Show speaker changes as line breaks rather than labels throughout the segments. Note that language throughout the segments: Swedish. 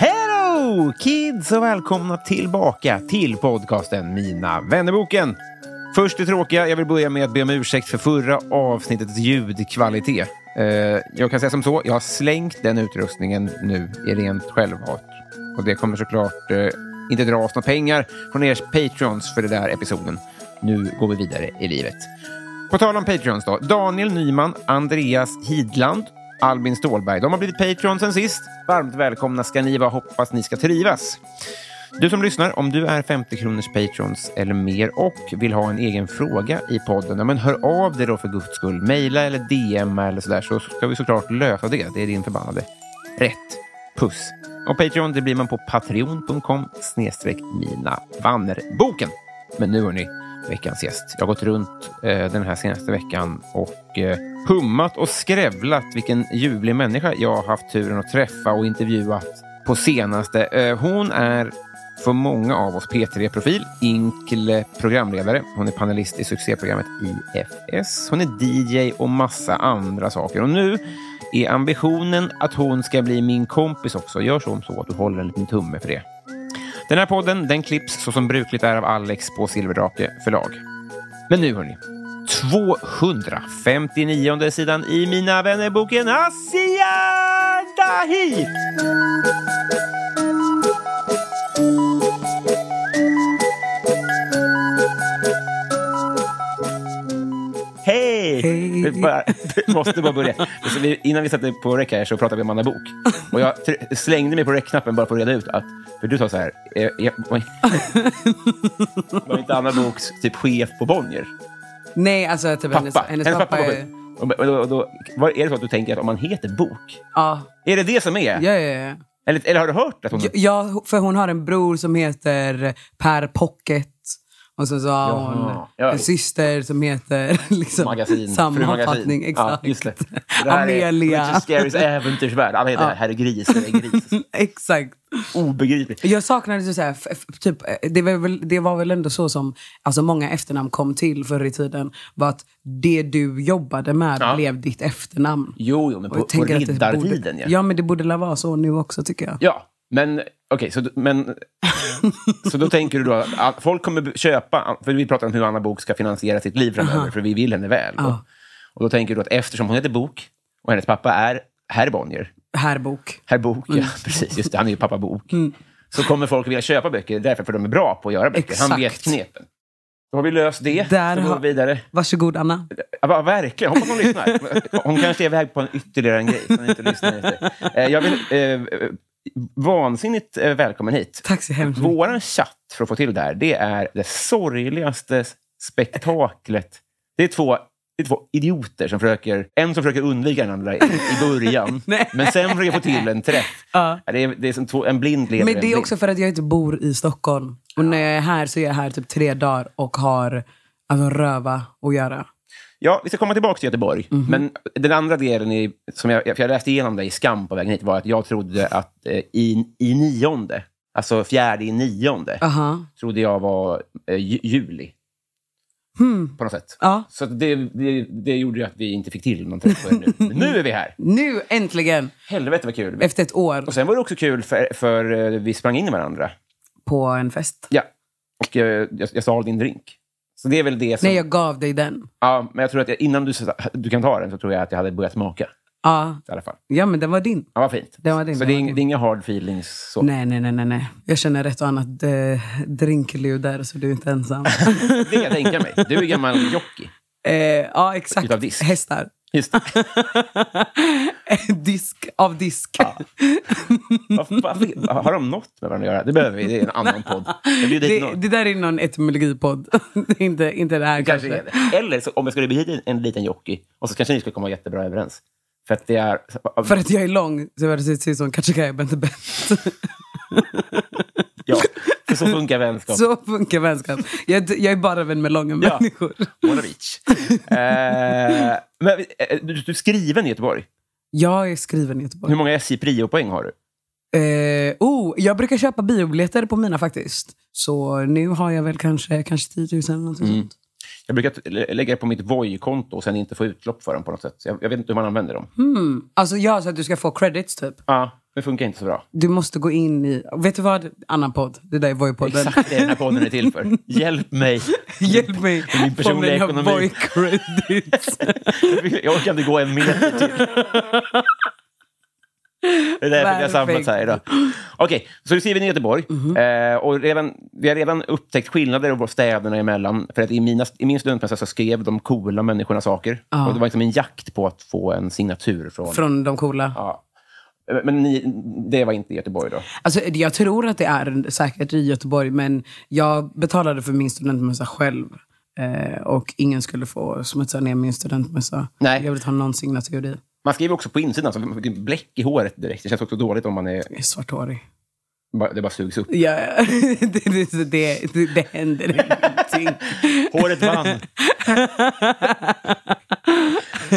Hello kids och välkomna tillbaka till podcasten Mina vännerboken. Först det tråkiga, jag vill börja med att be om ursäkt för förra avsnittets ljudkvalitet. Eh, jag kan säga som så, jag har slängt den utrustningen nu i rent självhat. Och det kommer såklart eh, inte dra oss några pengar från er patrons för den där episoden. Nu går vi vidare i livet. På tal om Patreons då. Daniel Nyman, Andreas Hidland, Albin Stålberg. De har blivit Patreon sen sist. Varmt välkomna ska ni vara. Hoppas ni ska trivas. Du som lyssnar, om du är 50 kronors Patrons eller mer och vill ha en egen fråga i podden, ja, men hör av dig då för guds skull. Mejla eller DM eller sådär så ska vi såklart lösa det. Det är din förbannade rätt. Puss. Och Patreon, det blir man på patreon.com snedstreck mina vannerboken. Men nu hörni, veckans gäst. Jag har gått runt eh, den här senaste veckan och eh, hummat och skrävlat vilken ljuvlig människa jag har haft turen att träffa och intervjuat på senaste. Eh, hon är för många av oss P3-profil, inkl programledare. Hon är panelist i succéprogrammet IFS. Hon är DJ och massa andra saker. Och nu är ambitionen att hon ska bli min kompis också. Gör som så att du håller en liten tumme för det. Den här podden den klipps så som brukligt är av Alex på Silverdrake förlag. Men nu hörni, 259 sidan i Mina vännerboken Asia Dahir! Hej! Vi bara- vi måste bara börja. Så vi, innan vi satte på rec här så pratade vi om Anna Bok. Och jag tr- slängde mig på rec-knappen bara för att reda ut att... För du sa så här... Eh, jag, var, var inte Anna Boks typ chef på Bonnier?
Nej, alltså typ
Pappa.
hennes, hennes pappa, är...
var chef. Och då, och då, vad är det så att du tänker att om man heter Bok?
Ja,
Är det det som är?
ja, ja, ja.
Eller, eller har du hört att hon...
Ja, Ja, för hon har en bror som heter Per Pocket. Och sen så har hon
Ja.
en syster som heter liksom,
Magasin,
sammanfattning.
frumagasin.
Exakt.
Ja, just det. det här
Amelia.
är Richard Scarys äventyrsvärld. Alla heter Herr Gris eller Gris.
Exakt.
Obegripligt.
Jag saknade så här, f- f- typ, eh, det, var väl, det var väl ändå så som alltså många efternamn kom till förr i tiden. Var att det du jobbade med
Ja.
blev ditt efternamn.
Jo, jo, men
Och
på,
jag
på
tänker att det
riddartiden
borde,
ja.
ja. men det borde la vara så nu också tycker jag.
Ja, men okej, så, men, så då tänker du då att all- folk kommer köpa, för vi pratar om hur Anna Bok ska finansiera sitt liv framöver, för vi vill henne väl. Och, och då tänker du att eftersom hon heter Bok och hennes pappa är herr Bonnier,
Här bok.
herr Bok,
Mm.
ja precis, just det, han är ju pappa Bok, så kommer folk vilja köpa böcker därför, för de är bra på att göra böcker. Han
Exakt.
vet knepen. Då har vi löst det,
Där
så går
har-
vi vidare.
Varsågod Anna.
Ja, va- verkligen. Hoppas hon lyssnar. Hon kanske är iväg på en ytterligare en grej som hon inte lyssnar efter. Eh, Jag vill... Eh, eh, vansinnigt eh, välkommen hit.
Tack så hemskt mycket.
Vår chatt, för att få till det här, det är det sorgligaste spektaklet. Det är två, det är två idioter som försöker... En som försöker undvika den andra i, i början,
Nej.
men sen försöker få till en träff.
Ja.
Det är, det är som två, en blind leder
Men
en
det
blind.
är också för att jag inte bor i Stockholm. Och när jag är här så är jag här typ tre dagar och har alltså, röva att göra.
Ja, vi ska komma tillbaka till Göteborg.
Mhm.
Men den andra delen, i, som jag, för jag läste igenom det i Skam på vägen hit, var att jag trodde att eh, i, i nionde, alltså fjärde i nionde,
Aha.
trodde jag var eh, ju- juli. På något sätt.
Hmm. Ja.
Så att det, det, det gjorde ju att vi inte fick till någon träff nu. Men nu är vi här!
Nu äntligen,
Helvete vad kul!
efter ett år
Och sen var det också kul, för, för eh, vi sprang in i varandra.
på en fest.
Ja. Och eh, jag, jag stal din drink. Så det är väl det som...
Nej, jag gav dig den.
Ja, men jag tror att jag, innan du, sa- du kan ta den så tror jag att jag hade börjat smaka.
Ja,
I alla fall.
ja men den var din.
Ja, vad fint.
Det var din,
så
det
det är,
var
ing-
din.
det är inga hard feelings? Så.
Nej, nej, nej, nej, nej. Jag känner rätt och annat eh, drinkliv där, så du är inte ensam.
Det kan jag tänka mig. Du är gammal jockey.
eh, ja, exakt.
Utav disk.
Hästar.
Just det.
disk av disk.
Vad- vad- Har de något med varandra att göra? Det behöver vi. Det är en annan podd. Jag bjuder hit
det,
någon.
det där är någon etymologipodd. Det är inte, inte det här kanske.
Kanske är det. Eller så, om jag skulle bjuda hit en liten jockey, och så kanske ni skulle komma jättebra överens. För att det är...
För att jag är lång så jag ser ut som Katjikaja Bente Bent.
Ja, för så funkar vänskap.
Så funkar vänskap. Jag, jag är bara vän med långa
Ja.
människor.
What a reach. Eh, men, eh, du, du är skriven i Göteborg.
Jag är skriven i Göteborg.
Hur många SJ Prio-poäng har du?
Eh, oh, jag brukar köpa biobiljetter på mina faktiskt. Så nu har jag väl kanske, kanske 10 000 eller någonting
Mm.
sånt.
Jag brukar t- lä- lägga det på mitt Voi-konto och sen inte få utlopp för dem på något sätt. Så Jag, jag vet inte hur man använder dem.
Hmm. Alltså ja, så att du ska få credits typ.
Ja, det funkar inte så bra.
Du måste gå in i... Vet du vad? Annan podd. Det där är Voi-podden.
Exakt det den här podden är till för. Hjälp mig.
Hjälp mig.
min personliga
Få mina
ekonomi.
Voi-credits.
Jag orkar inte gå en meter till. Det är därför vi har
Perfekt.
samlats här idag. Okej, så du skriver i Göteborg. Eh, och redan, vi har redan upptäckt skillnader av städerna emellan. För att i, mina, i min studentmässa så skrev de coola människorna saker. Och det var liksom en jakt på att få en signatur från...
Från de coola.
Ja. Men ni, det var inte i Göteborg då?
Alltså, jag tror att det är säkert i Göteborg, men jag betalade för min studentmössa själv. Eh, och ingen skulle få smutsa ner min studentmössa.
Nej.
Jag vill inte ha någon signatur i.
Man skriver också på insidan, så man fick bläck i håret direkt. Det känns också dåligt om man är,
Jag är svarthårig.
bara- det bara sugs upp.
Ja, det, det, det, det, det händer ingenting.
Håret vann!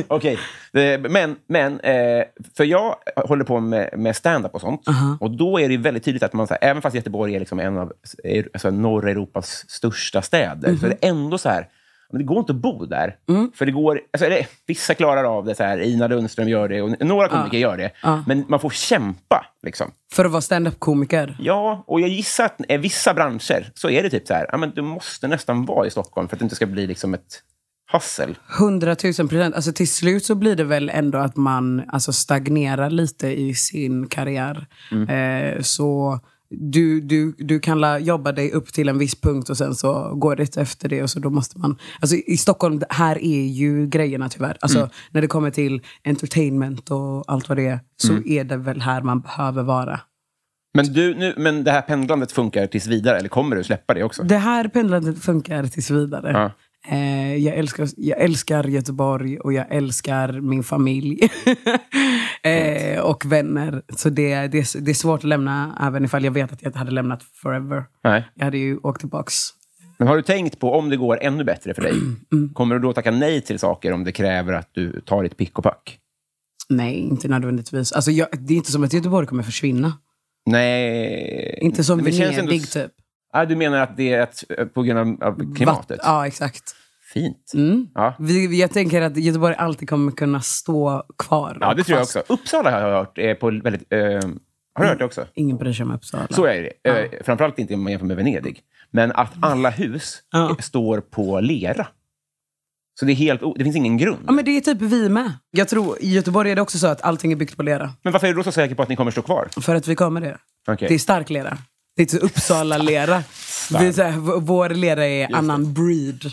Okej, Det- men, men eh, för jag håller på med, med stand-up och sånt. Och då är det ju väldigt tydligt att man, så här, även fast Göteborg är liksom en av är, alltså, norra Europas största städer, så är det ändå så här, men det går inte att bo där. För det går, alltså, eller, vissa klarar av det, så här, Ina Lundström gör det och några komiker gör det. Men man får kämpa. Liksom.
För att vara stand-up-komiker.
Ja, och jag gissar att i vissa branscher så är det typ så här, ja, men du måste nästan vara i Stockholm för att det inte ska bli liksom ett hassel.
100 000 procent. Alltså till slut så blir det väl ändå att man alltså, stagnerar lite i sin karriär. Eh, så du, du, du kan la, jobba dig upp till en viss punkt och sen så går det inte efter det. Och så då måste man, alltså, I Stockholm, här är ju grejerna tyvärr. Alltså, När det kommer till entertainment och allt vad det är, så är det väl här man behöver vara.
Men, du, nu, men det här pendlandet funkar tills vidare, eller kommer du släppa det också?
Det här pendlandet funkar tills vidare.
Ja.
Eh, jag, älskar, jag älskar Göteborg och jag älskar min familj. eh, och vänner. Så det, det, är- det är svårt att lämna, även ifall jag vet att jag inte hade lämnat forever.
Nej.
Jag hade ju åkt tillbaks.
Men har du tänkt på, om det går ännu bättre för dig,
Mm.
kommer du då tacka nej till saker om det kräver att du tar ditt pick och pack?
Nej, inte nödvändigtvis. Alltså, jag, det är inte som att Göteborg kommer försvinna.
Nej.
Inte som
Men det känns
Venedig,
ändå-
typ.
Ja, du menar att det är att, på grund av- av klimatet?
Vatt- ja, Mm. exakt.
Fint. Ja.
Vi, vi- jag tänker att Göteborg alltid kommer kunna stå kvar.
ja,
och
det tror jag
fast.
också. Uppsala har jag hört är på väldigt... Eh, har du hört det också?
Ingen bryr sig om Uppsala.
Så är det. Eh, Framförallt inte om man jämför med Venedig. Men att alla hus
Ja.
eh, står på lera. Så det, är helt, o- det finns ingen grund.
Ja,
men,
men det är typ vi med. Jag tror, I Göteborg är det också så att allting är byggt på lera.
varför är du då så säker på att ni kommer stå kvar?
För att vi kommer det.
Okej.
Det är stark lera. Det är inte Uppsala-lera. Det är så här, v- vår lera är annan breed.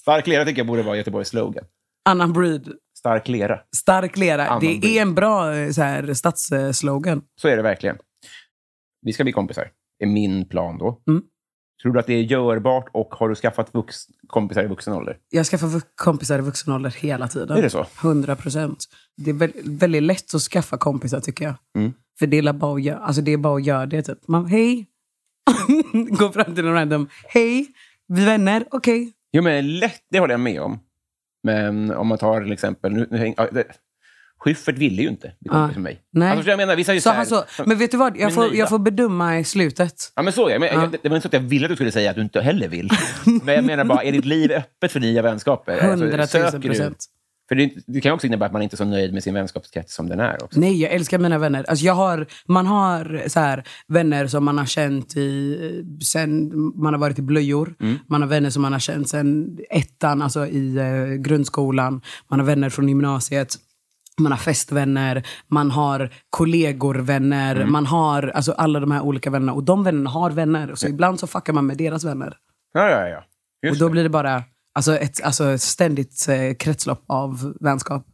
Stark lera tycker jag borde vara Göteborgs slogan.
Annan breed.
Stark lera.
Stark lera.
Annan
det är
breed.
en bra eh, så här, stadsslogan.
Så är det verkligen. Vi ska bli kompisar. Det är min plan då.
Mm.
Tror du att det är görbart och har du skaffat vux- kompisar i vuxen ålder?
Jag skaffar vux- kompisar i vuxen ålder hela tiden.
Är det så?
100 procent. Det är vä- väldigt lätt att skaffa kompisar tycker jag.
Mm.
För det är la bara att göra, alltså det, är bara att göra det. Typ. Man, hej! Gå fram till någon random. Hej! Vi vänner. Okej.
Jo, men lätt, det håller jag med om. Men om man tar till exempel... Nu, nu, häng- ja, det, Schyffert ville ju inte bli kompis
Ah,
med mig.
nej.
Alltså, förstår jag menar, vissa är ju
Så
så här-
han så, men vet du vad? Jag
Men
får,
nöjda.
jag får bedöma i slutet.
Ja, men så är jag. Men, jag- Det det var inte så att jag ville att du skulle säga att du inte heller vill. men jag menar bara, är ditt liv öppet för nya vänskaper? Alltså,
100
söker
000
du-
procent.
För det, det kan också innebära att man inte är så nöjd med sin vänskapskrets som den är. Också.
Nej, jag älskar mina vänner. Alltså jag har, man har så här, vänner som man har känt i, eh, sen man har varit i blöjor.
Mm.
Man har vänner som man har känt sen ettan, alltså i eh, grundskolan. Man har vänner från gymnasiet. Man har festvänner, man har kollegor-vänner,
Mm.
man har alltså alla de här olika vännerna. Och de vännerna har vänner. Så ibland så fuckar man med deras vänner.
Ja, ja, ja.
Och
Just
då
det.
blir det bara alltså ett alltså ett ständigt eh, kretslopp av vänskap.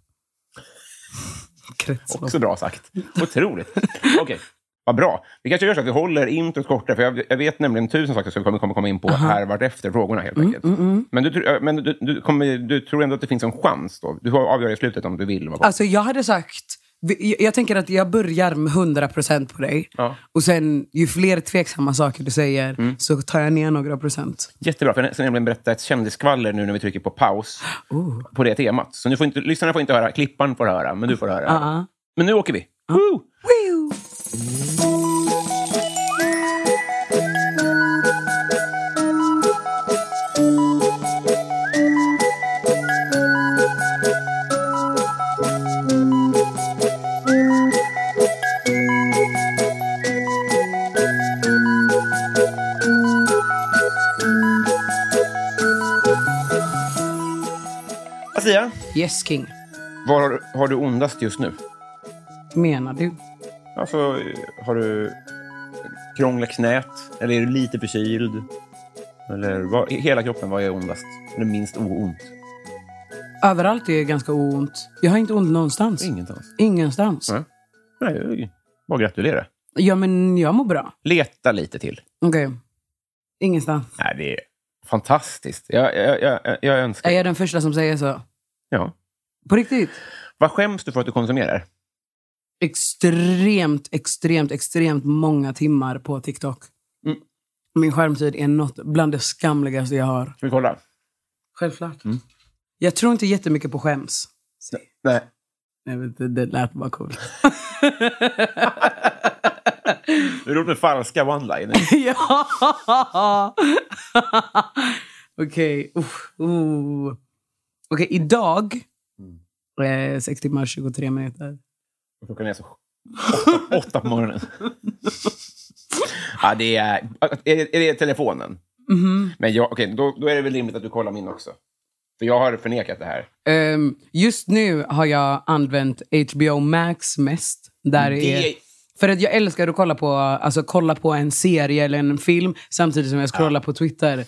kretslopp.
Också bra sagt. Otroligt. Okej, vad bra. Vi kanske gör så att vi håller introt kortare, för jag, jag vet nämligen tusen saker som vi kommer- kommer komma in på här vartefter frågorna helt
Mm,
enkelt. Men, du, tr- men du, du, kommer, du tror ändå att det finns en chans då? Du får avgöra i slutet om du vill. vara kort.
Alltså jag hade sagt, vi- jag- jag tänker att jag börjar med 100% på dig.
Ja. Mm.
Och sen ju fler tveksamma saker du säger så tar jag ner några procent.
Jättebra, för jag ska nämligen berätta ett kändiskvaller nu när vi trycker på paus på det temat. Så nu får inte, lyssnarna får inte höra, klippan får höra, men du får höra.
Ja.
Men nu åker vi! Woo!
Woo!
Asia,
Yes king,
var har, du- har du ondast just nu?
menar du?
Alltså, eh, har du krångla knät? Eller är du lite förkyld? Eller vad, i hela kroppen, vad är ondast? Eller minst oont?
Överallt är det ganska ont. Jag har inte ont någonstans.
Ingenstans.
Ingenstans.
Nej. Nej, jag vill bara gratulera.
Ja men jag mår bra.
Leta lite till.
Okej. Ingenstans.
Nej, det är fantastiskt. Jag, jag, jag, jag, jag önskar...
Är jag den första som säger så?
Ja.
På riktigt?
Vad skäms du för att du konsumerar?
extremt, extremt, extremt många timmar på TikTok.
Mm.
Min skärmtid är något bland det skamligaste jag har.
Ska vi kolla?
Självklart. Jag tror inte jättemycket på skäms.
Nej.
Jag vet inte, det lät bara coolt.
Det är roligt med falska one-liners.
ja! Okej. uff, oh. Okej, idag...
Mm.
Eh, 6 timmar 23 minuter.
Klockan är så åtta, åtta på morgonen. ja, det är, är, det, är det telefonen?
Mm-hmm.
Men jag, okej, då, då är det väl rimligt att du kollar min också. För jag har förnekat det här.
Ehm, just nu har jag använt HBO Max mest. Där
Det-
är, för att jag älskar att kolla på, alltså, kolla på en serie eller en film samtidigt som jag scrollar på Twitter.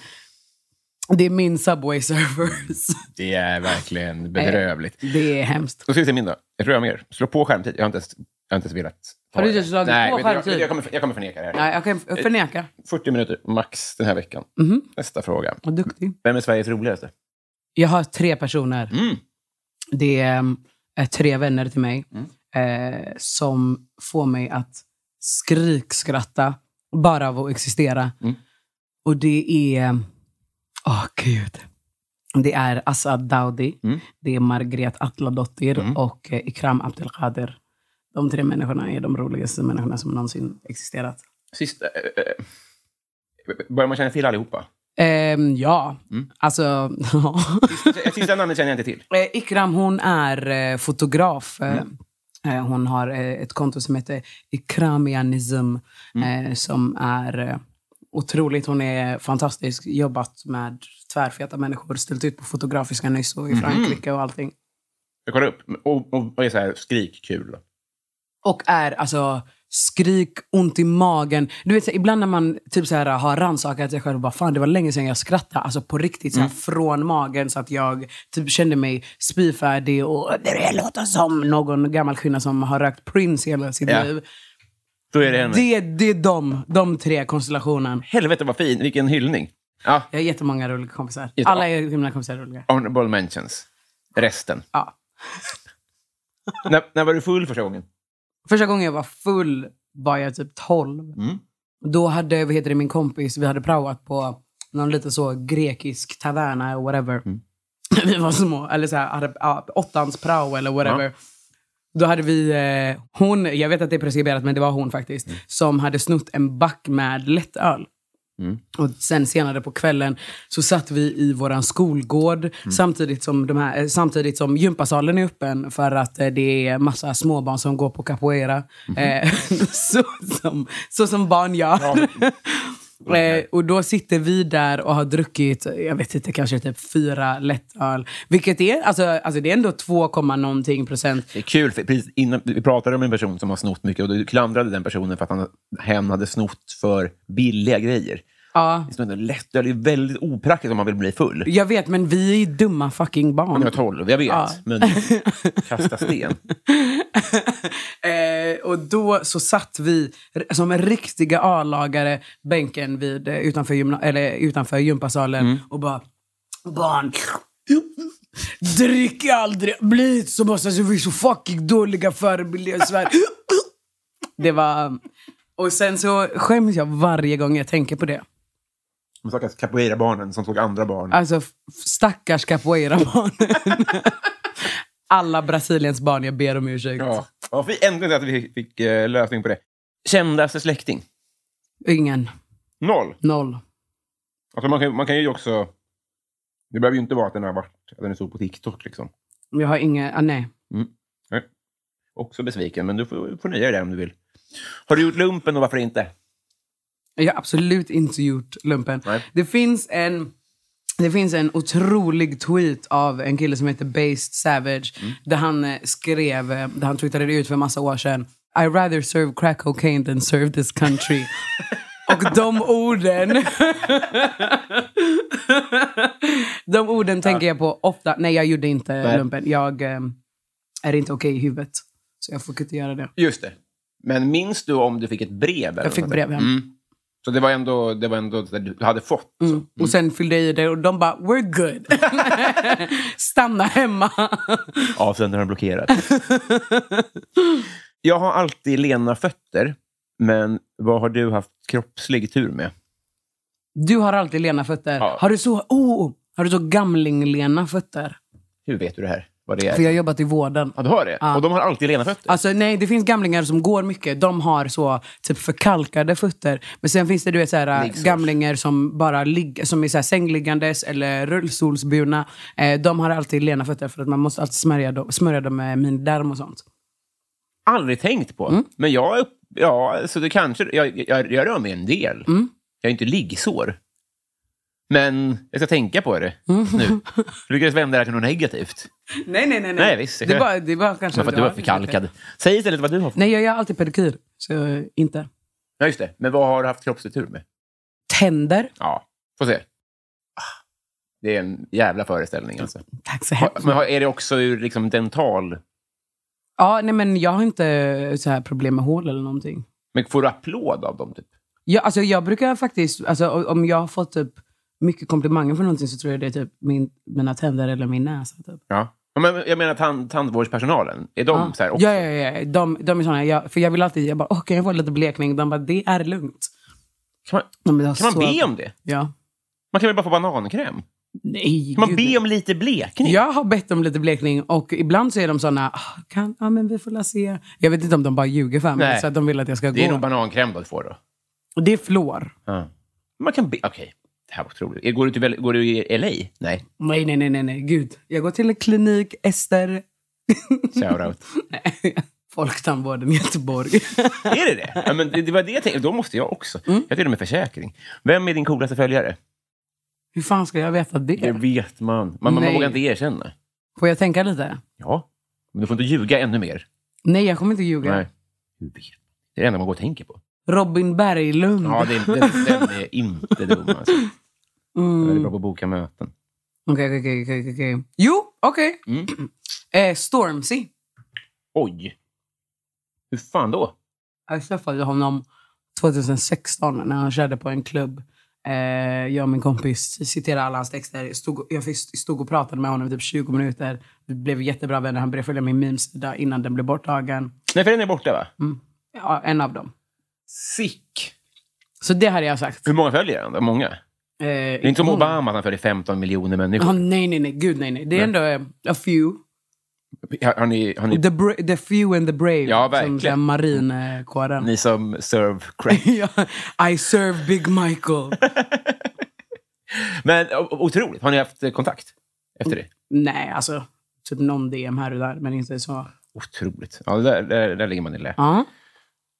Det är min Subway Surfers.
Det är verkligen bedrövligt.
det är hemskt.
Då ska vi se min då. Jag tror jag har mer. Slå på skärmtid. Jag har inte ens, jag har inte ens velat. ta
Har du
det.
inte slagit
Nej,
på
vet du, jag-
skärmtid?
Jag, kommer, jag kommer förneka det här.
Nej, jag kan f- förneka.
40 minuter max den här veckan.
Mm-hmm.
Nästa fråga.
Vad duktig.
Vem är Sveriges roligaste?
Jag har tre personer.
Mm.
Det är, ehm, är tre vänner till mig eh, som får mig att skrikskratta bara av att existera. Och det är... Åh, gud. Det är Assad Daudi, det är Margret Atladottir och eh, Ikram Abdelkader. De tre människorna är de roligaste människorna som någonsin existerat.
Sista... eh, eh, börjar man känna till allihopa?
Ehm, ja, alltså...
Sista namnet känner jag inte till.
Eh, Ikram hon är eh, fotograf. Eh, eh, Hon har eh, ett konto som heter Ikramianism eh, som är eh, otroligt. Hon är fantastisk. Jobbat med tvärfeta människor. Ställt ut på Fotografiska nyss och i Frankrike och allting.
Jag kollar upp. Och, och, och är så här skrikkul. då.
Och är alltså skrik, ont i magen. Du vet, så här, ibland när man typ så här, har rannsakat sig själv och bara fan det var länge sedan jag skrattade. Alltså på riktigt så här, från magen så att jag typ kände mig spyfärdig och det låter som någon gammal kvinna som har rökt Prince hela sitt
Ja.
liv.
Då är det henne.
Det, det är de, de tre konstellationen.
Helvete vad fin. Vilken hyllning. Ja,
Jag har jättemånga roliga kompisar.
Jättebra.
Alla är mina kompisar är roliga.
honorable mentions. Resten.
Ja.
när, när var du full första gången?
Första gången jag var full var jag typ 12. Då hade vad heter det, min kompis, vi hade praoat på någon liten så grekisk taverna eller whatever. vi var små, eller så här, hade, ja, åttans prao eller whatever. Då hade vi, eh, hon, jag vet att det är preskriberat men det var hon faktiskt, som hade snott en back med lättöl. Och sen senare på kvällen så satt vi i våran skolgård samtidigt, som de här, eh, samtidigt som gympasalen är öppen för att eh, det är massa småbarn som går på capoeira. Eh, så, som, så som barn gör. Eh, och då sitter vi där och har druckit, jag vet inte, kanske typ fyra lättöl. Vilket är, alltså, alltså det är ändå 2, någonting procent.
Det är kul, för precis innan, vi pratade om en person som har snott mycket och du klandrade den personen för att han, hen hade snott för billiga grejer.
Ja,
Det är, som en lätt, det är väldigt opraktiskt om man vill bli full.
jag vet, men vi är dumma fucking barn.
Man är 12, jag vet.
Ja.
Men kasta sten.
eh, och då så satt vi r- som riktiga A-lagare bänken vid, eh, utanför, gymna- eller, utanför gympasalen
Mm.
och bara Barn, drick aldrig, bli inte som oss. Alltså, vi är så fucking dåliga förebilder i Sverige. det var... Och sen så skäms jag varje gång jag tänker på det.
De stackars capoeira-barnen som tog andra barn.
Alltså, f- stackars capoeira-barnen. Alla Brasiliens barn, jag ber om ursäkt.
Ja. Ja, vi äntligen att vi fick eh, lösning på det. Kändaste släkting?
Ingen.
Noll.
Noll.
Alltså man, kan, man kan ju också... Det behöver ju inte vara att den, har varit, att den är stor på TikTok. Liksom.
Jag har ingen... Ah, nej.
Också besviken, men du får, får nöja dig där om du vill. Har du gjort lumpen och varför inte?
Jag har absolut inte gjort lumpen.
Nej.
Det finns en... Det finns en otrolig tweet av en kille som heter Based Savage där han eh, skrev, eh, där han twittrade ut för en massa år sedan. I rather serve crack cocaine than serve this country. Och de orden... de orden tänker jag på ofta. Nej, jag gjorde inte lumpen. Jag eh, är inte okej i huvudet. Så jag får inte göra det.
Just det. Men minns du om du fick ett brev? eller
Jag fick
något?
brev hem.
Så det var ändå det var ändå det du hade fått? så.
Och sen fyllde jag i det och de bara, we're good. Stanna hemma.
Avsändaren har blockerat. jag har alltid lena fötter, men vad har du haft kroppslig tur med?
Du har alltid lena fötter.
Ja.
Har du så, oh, har du så gamling-lena fötter?
Hur vet du det här? Vad det är?
För jag har jobbat i vården.
Ja, du har det?
Ja.
Och de har alltid lena fötter?
Alltså nej, det finns gamlingar som går mycket. De har så typ förkalkade fötter. Men sen finns det du vet, så här,
Liggsårs.
gamlingar som bara ligg, som är så här, sängliggandes eller rullstolsburna. Eh, de har alltid lena fötter för att man måste alltid smörja dem, smörja dem med minderm och sånt.
Aldrig tänkt på.
Mm.
Men jag, är upp- ja, så det kanske, jag, jag, jag rör mig en del.
Mm.
Jag är inte liggsår. Men jag ska tänka på det
Mm.
nu. Du lyckades vända det här till något negativt.
Nej, nej, nej.
Nej, visst, jag
det, är
kan-
bara, det är bara kanske...
Men för att du var förkalkad. Säg istället vad du har fått.
Nej, jag gör alltid pedikyr. Så inte.
Ja, just det. Men vad har du haft kroppslig tur med?
Tänder.
Ja, får se. Ah, Det är en jävla föreställning alltså.
Tack så
Har-
hemskt
Men har- är det också ur liksom dental...
Ja, nej men jag har inte så här problem med hål eller någonting.
Men får du applåd av dem? Typ?
Jag, alltså, jag brukar faktiskt, alltså, o- om jag har fått typ mycket komplimanger för någonting så tror jag det är typ min, mina tänder eller min näsa. Typ.
Ja. Ja, Men jag menar tand, tandvårdspersonalen. Är de så här också?
ja, ja, ja. ja. De, de är såna, jag, för jag vill alltid, jag bara, åh kan jag få lite blekning? De bara, det är lugnt.
Kan man,
De bara,
kan man
så-
be om det?
Ja.
Man kan väl bara få banankräm?
Nej,
Kan man
gud.
be om lite blekning?
Jag har bett om lite blekning och ibland så är de såna, "Ah, kan, ja men vi får la se. Jag vet inte om de bara ljuger för mig
Nej.
så att de vill att jag ska
Det är
gå.
nog banankräm då du får. Då.
Det är flår.
Ja. Man kan be... Okej, det här var otroligt. Går du, till, väl- går du i LA? Nej.
Nej, nej, nej, nej, nej. Gud. Jag går till en klinik, Ester.
Shoutout.
Nej, Folktandvården i Göteborg.
är det det? Ja, men det, det var det jag tänkte. Då måste jag också.
Mm.
Jag har till och med försäkring. Vem är din coolaste följare?
Hur fan ska jag veta
Det
det?
vet man. Man, man
Nej.
vågar inte erkänna.
Får jag tänka lite?
Ja, men du får inte ljuga ännu mer.
Nej, jag kommer inte ljuga.
Nej. Hur vet man? Det är det enda man går och tänker på.
Robin Berglund.
Ja, det, den, den är inte dum. Alltså. Jag är
Mm.
väldigt bra på att boka möten.
Okej, okej, okej, okej, okej. Jo, okej.
Mm.
Eh, Stormzy.
Oj! Hur fan då?
Jag träffade honom 2016 när han körde på en klubb. Eh, jag och min kompis citerade alla hans texter. Stod, jag fick- stod och pratade med honom i typ 20 minuter. Vi blev jättebra vänner. Han började följa min memesida innan den blev borttagen.
Nej, för den är borta, va?
Ja, en av dem.
Sick!
Så det hade jag sagt.
Hur många följer han? då? Många?
Eh,
Mm. Det är inte som
många.
Obama, att han följer 15 miljoner människor.
Ja, nej, nej, nej. Gud, nej, nej. Det är ändå eh, a few.
Har, har ni, har ni,
The, bra- the few and the brave.
Ja, verkligen.
som den marinkåren.
ni som serve crack.
Ja, I serve Big Michael.
Men o- otroligt. Har ni haft eh, kontakt efter
Mm.
det?
Nej, alltså typ någon DM här och där, men inte så.
Otroligt. Ja, där, där, där ligger man i lä.
Ja.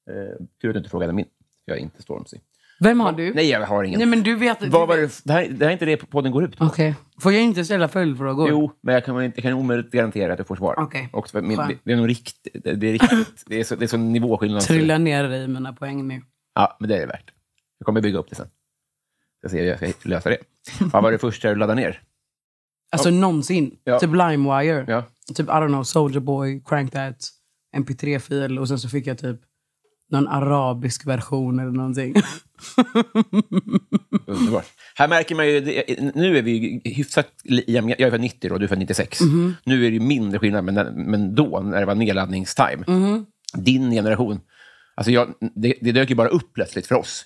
Eh, Gud att du inte frågade min. Jag är inte Stormzy.
Vem har du?
Nej, jag har ingen.
Nej, men du vet... du
Vad var
vet-
det? Det, här, det här är inte det podden går ut på.
Okej. Får jag inte ställa följdfrågor?
Jo, men jag kan, jag kan omöjligt garantera att du får svar.
Okej.
Och för min,
Skönt.
det är nog riktigt. Det det är, riktigt, det är, så, det är så nivåskillnad.
Trilla ner i mina poäng nu.
Ja, men det är det värt. Jag kommer bygga upp det sen. Jag ser hur jag ska lösa det. Vad var det första du laddade ner?
Alltså någonsin.
Ja.
Typ LimeWire.
Ja.
Typ, I don't know, Soldier Boy, Crank That, MP3-fil. Och sen så fick jag typ någon arabisk version eller någonting.
Underbart. Här märker man ju, det- nu är vi ju hyfsat li- jämna. Jag är född 90 då, du är född 96.
Mhm.
Nu är det ju mindre skillnad, men, men då, när det var nedladdningstime.
Mhm.
Din generation. Alltså jag, det, det dök ju bara upp plötsligt för oss.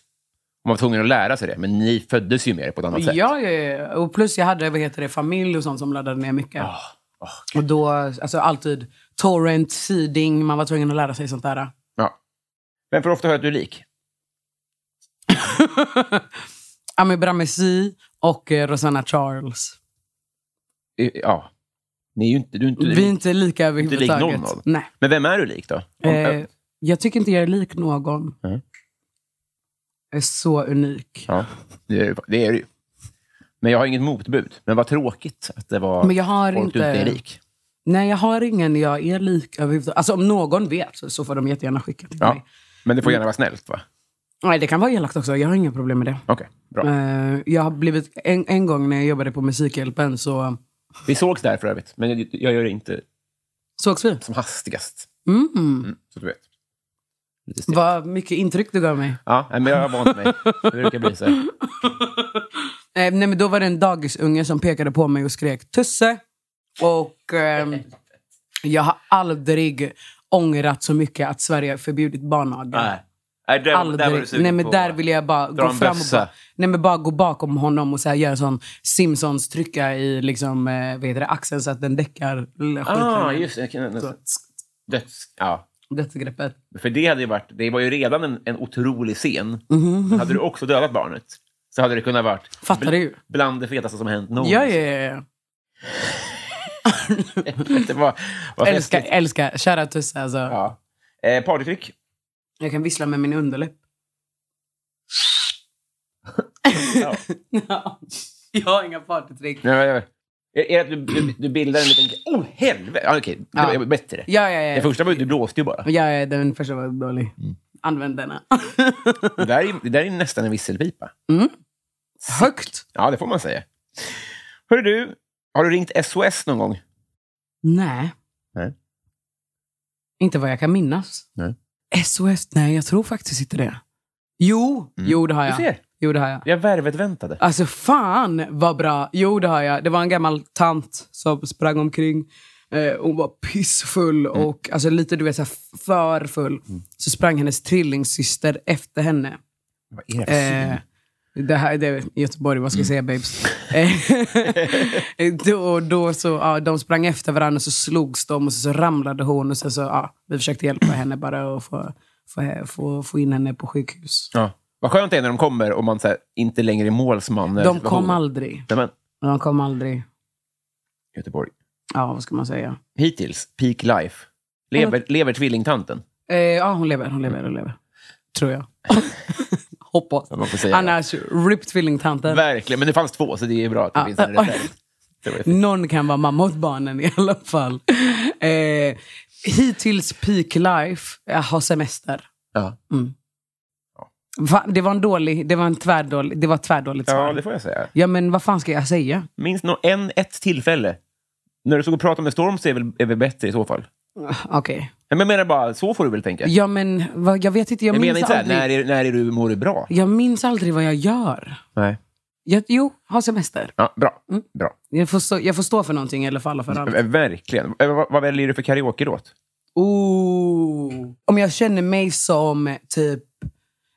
Man var tvungen att lära sig det, men ni föddes ju med det på ett annat sätt.
Ja, ja, ja. Och plus jag hade vad heter det, familj och sånt som laddade ner mycket.
Ah,
och då, alltså alltid torrent, seeding, man var tvungen att lära sig sånt där.
Ja. Men för ofta hör jag att du är lik.
Ami Bramesi och eh, Rosanna Charles.
I- Ja. Ni är ju inte, du är inte
Vi är inte lika
inte lik någon
överhuvudtaget.
av dem.
Nej.
Men vem är du lik då? Om-
Eh, jag tycker inte jag är lik någon.
Mm.
Jag är så unik.
Ja, det är, det- det är det ju. Men jag har inget motbud. Men vad tråkigt att det var
Men jag har
folk du
inte-
inte är lik.
Nej, jag har ingen jag är lik överhuvudtaget. Alltså om någon vet så- så får de jättegärna skicka till
Ja.
mig.
Men det får gärna vara snällt, va?
Nej, det kan vara elakt också. Jag har inga problem med det.
Okej, bra.
Eh, jag har blivit, en, en gång när jag jobbade på Musikhjälpen så
Vi sågs där för övrigt, men jag, jag gör det inte
sågs vi.
som hastigast.
Mm.
Så du vet. Lite stelt.
Vad mycket intryck du gav mig.
Ja, nej, men jag har vant mig. Det brukar bli så. här.
Eh, nej, men då var det en dagisunge som pekade på mig och skrek tusse. Och ehm, jag har aldrig ångrat så mycket att Sverige har förbjudit barnaga.
Nej, där,
Aldrig. Nej, men där vill jag bara
Dra
gå
en
fram och
bössa.
bara, nej, men bara gå bakom honom och så här, göra en sån Simpsons trycka i liksom, eh, vad heter det, axeln så att den däckar. lilla
Ah,
skiten.
just det. Jag kan
Så,
nästan- Döds... Ja.
dödsgreppet.
För det hade ju varit... Det var ju redan en, en otrolig scen. Men Hade du också dödat barnet så hade det kunnat varit
Mhm. Fattar du?
bland det fetaste som hänt någonsin.
Ja, ja, ja, ja.
Det var, var
Älskar,
festligt.
älskar. Kära Tusse alltså.
Ja. Eh, partytryck.
Jag kan vissla med min underläpp.
Ja.
Ja. Jag har inga partytrick.
Nej, nej, nej. Är är det att du, du, du bildar en liten... Oh, helvete! Ja, Okej, det var
Ja.
ju bättre.
Ja, ja, ja.
Den första var ju- du blåste ju bara.
ja, ja den första var dålig.
Mm.
Använd denna.
Det där är, ju- det där är ju nästan en visselpipa.
Högt?
Ja, det får man säga. Hörru du, har du ringt SOS någon gång?
Nej.
Nej.
Inte vad jag kan minnas.
Nej.
SOS? Nej, jag tror faktiskt inte det. Jo, jo det har
Du
jag.
Mm. ser.
Jo, det har jag.
Jag värvet väntade.
Alltså fan vad bra. Jo det har jag. Det var en gammal tant som sprang omkring. Eh, hon var pissfull och alltså, lite du vet, så här, för full. Så sprang hennes tvillingsyster efter henne.
Vad är det för
Eh,
syn?
det här det är Göteborg, vad ska jag säga babes? Eh, då, då så, ja, de sprang efter varandra och så slogs de och så, så ramlade hon. Och så, så, ja, vi försökte hjälpa henne bara att få, få, få, få in henne på sjukhus.
Ja. Vad skönt det är när de kommer och man så här, inte längre är målsman. när
De
situationen-
kom aldrig.
Nej, men,
De kom aldrig.
Göteborg.
Ja, vad ska man säga?
Hittills, peak life. Lever, lever tvillingtanten?
Eh, ja, hon lever. Hon lever, hon lever. Tror jag. Hoppas.
Ja, man får säga
Annars, RIP tvillingtanten.
Verkligen, men det fanns två, så det är bra att det
Ja.
finns en reserv. Det var ju fint.
Någon kan vara mamma åt barnen i alla fall. Eh, hittills peak life, jag har semester.
Ja.
Mm. Va? Det var en dålig, det var en tvärdålig, det var ett tvärdåligt svar.
ja,
Ja,
det får jag säga.
men vad fan ska jag säga?
Minst nå en, ett tillfälle. När du stod och pratade med Storm så är väl, är väl bättre i så fall.
Okej.
Nej, Men jag menar bara, så får du väl tänka.
Ja men, vad, jag vet inte, jag,
jag menar
minns
inte så här,
aldrig.
när, är, när är du, mår du bra?
Jag minns aldrig vad jag gör.
Nej.
Jag, jo, har semester.
Ja, bra.
Mm.
bra.
Jag får, stå, jag får stå för någonting eller falla för allt.
Eh, Verkligen. Eh, Vad, vad väljer du för karaoke-låt?
Ooh. Om jag känner eh, mig som typ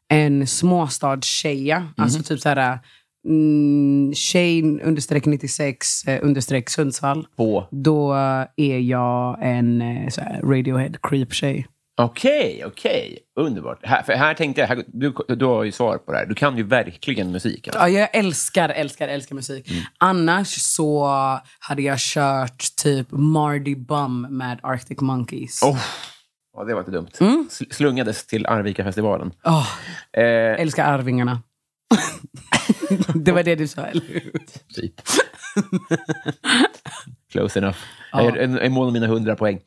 en småstadstjeja, alltså typ så här mm, Shane understreck 96 eh, understreck Sundsvall.
På?
Då är jag en eh, så här Radiohead creep-tjej.
Okej, okej. Underbart. Här, för här tänkte jag, här, du, du har ju svar på det här. Du kan ju verkligen musik. Alltså.
Ja, jag älskar, älskar, älskar musik. Annars så hade jag kört typ Mardy Bum med Arctic Monkeys.
Oh. Ja, det var inte dumt. Sl- Slungades till Arvika-festivalen.
Åh,
Eh,
älskar Arvingarna. det var det du sa, eller hur?
typ. Close enough. Jag är- Jag är mån om mina hundra poäng.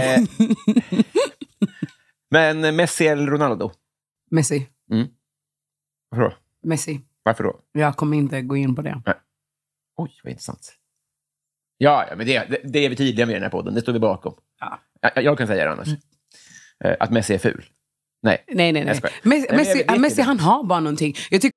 Eh, men Messi eller Ronaldo?
Messi.
Varför då?
Messi.
Varför då?
Jag kommer inte gå in på det.
Oj, vad intressant. Ja, ja men det, det, det är vi tydliga med i den här podden. Det står vi bakom.
Ja.
Jag, jag kan säga det annars. Eh, Att Messi är ful. Nej.
Nej, nej,
Jag
nej.
skojar.
Messi,
men jag
Messi,
vet ju
Messi
det.
han har bara någonting. Jag tycker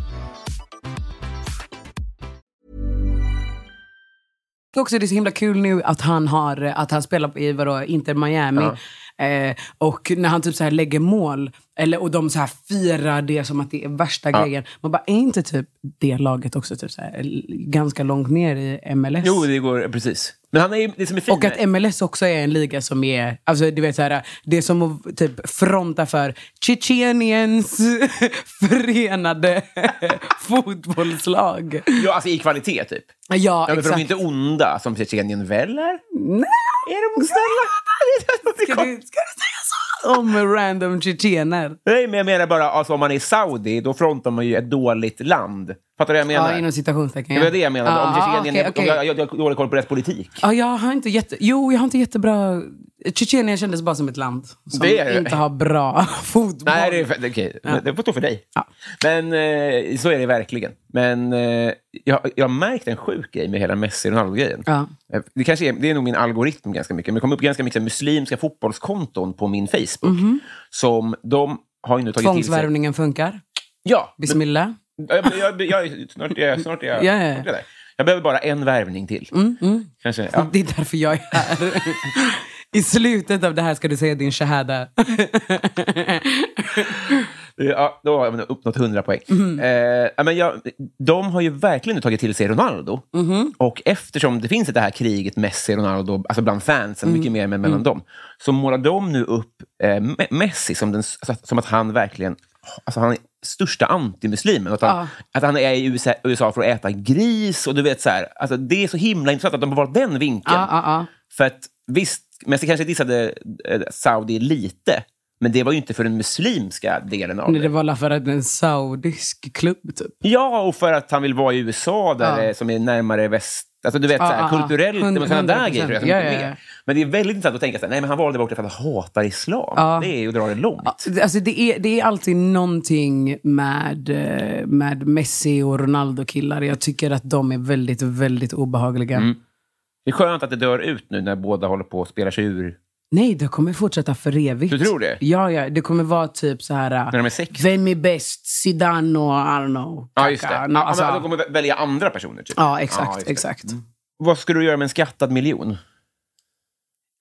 också det är så himla kul nu att han, har, att han spelar i vadå, Inter Miami. Eh, och när han typ så här lägger mål eller, och de så här firar det som att det är värsta grejen. Man bara, är inte typ det laget också typ så här, l- ganska långt ner i MLS?
Jo, det går precis. Men han är ju det som är fint.
Och att MLS också är en liga som är, alltså du vet så här, det är som att typ fronta för Tjetjeniens förenade fotbollslag.
ja, alltså i kvalitet, typ.
Ja,
Ja, men för de är
exakt.
inte onda, som Tjetjenien väl är?
Nej.
Är de snälla?
Ska du, ska du säga så? Om random tjetjener.
Nej, men jag menar bara, alltså, om man är saudi, då frontar man ju ett dåligt land. Fattar du vad jag menar?
Ja, inom citationstecken.
Det var det jag menade. om
Ja,
Tjetjenien...
okej,
är-
okej.
om Jag, jag, jag har dålig koll på deras politik.
Ja, jag har inte jätte... Jo, jag har inte jättebra... Tjetjenien kändes bara som ett land som
Det är det.
inte har bra fotboll.
Nej, det, är, för- okej. Men det får stå för dig.
Ja.
Men eh, så är det verkligen. Men eh, jag, jag har märkt en sjuk grej med hela Messi och Ronaldo-grejen.
Ja.
Eh, Det, kanske är, det är nog min algoritm ganska mycket, men det kom upp ganska mycket muslimska fotbollskonton på min Facebook.
Mhm.
Som de har ju nu tagit till sig...
Tvångsvärvningen funkar.
Ja, men-
Bismillah.
jag, jag, jag, snart är jag, snart är jag,
Ja, Mm, ja, ja.
Snart är jag där. Jag behöver bara en värvning till. Kanske, ja.
Det är därför jag är här. I slutet av det här ska du säga din shahada.
Ja, då har jag uppnått 100 poäng.
Mhm.
Eh, ja, men jag, de har ju verkligen nu tagit till sig Ronaldo.
Mhm.
Och eftersom det finns det här kriget Messi-Ronaldo, alltså bland fansen,
Mm.
mycket mer än mellan dem, så målar de nu upp eh, Me- Messi som, den, som att han verkligen Alltså han är största antimuslimen. Att han, att han är i USA, USA för att äta gris. och du vet så här, alltså Det är så himla intressant att de har valt den vinkeln.
Ja, ja, ja.
För att visst, Messi kanske dissade eh, Saudi lite, men det var ju inte för den muslimska delen av det.
Nej, Det var för att det är en saudisk klubb, typ.
Ja, och för att han vill vara i USA, där
Ja.
det, som är närmare väst. Alltså du vet,
Ja,
så här,
ja, ja.
kulturellt,
Hund-
och sådana där
100%.
grejer tror jag som
Ja,
inte är
ja, ja.
med. Men det är väldigt intressant att tänka så här, nej men han valde bort det för att han hatar islam. Det är ju att dra det långt.
Ja, Alltså det, är, det är alltid någonting med, eh, med Messi och Ronaldo-killar. Jag tycker att de är väldigt, väldigt obehagliga.
Det är skönt att det dör ut nu när båda håller på att spela sig ur.
Nej, det kommer fortsätta för evigt.
Du tror det?
Ja, ja. Det kommer vara typ så här...
När de är sex?
Vem är bäst? Zidane och Arno?
Ja, just det.
Kaká.
Ja,
No, alltså,
men, de kommer vä- välja andra personer. Typ.
ja, exakt.
just det.
exakt.
Vad skulle du göra med en skattad miljon?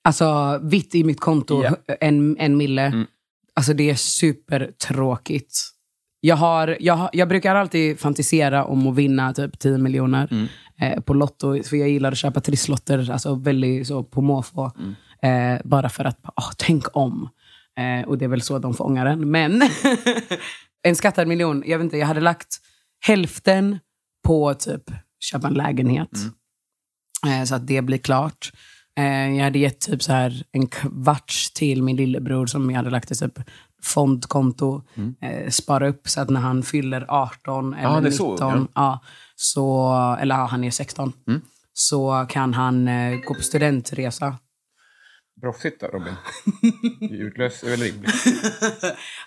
Alltså, vitt i mitt konto,
Ja.
en, en mille. Alltså det är supertråkigt. Jag, har, jag, har- jag brukar alltid fantisera om att vinna typ 10 miljoner eh, på Lotto. För jag gillar att köpa trisslotter, alltså väldigt så på måfå. Eh, bara för att, ah, tänk om. Eh, och det är väl så de fångar den. Men en skattad miljon, jag vet inte, jag hade lagt hälften på på typ köpa en lägenhet. Eh, Så att det blir klart. Eh, Jag hade gett typ så här en kvarts till min lillebror som jag hade lagt i typ fondkonto. Eh, spara upp så att när han fyller 18 eller
han är
19,
så ung,
ja. så, eller ja, han är 16, så kan han eh, gå på studentresa.
Proffsigt då, Robin. Utlös är väl rimligt.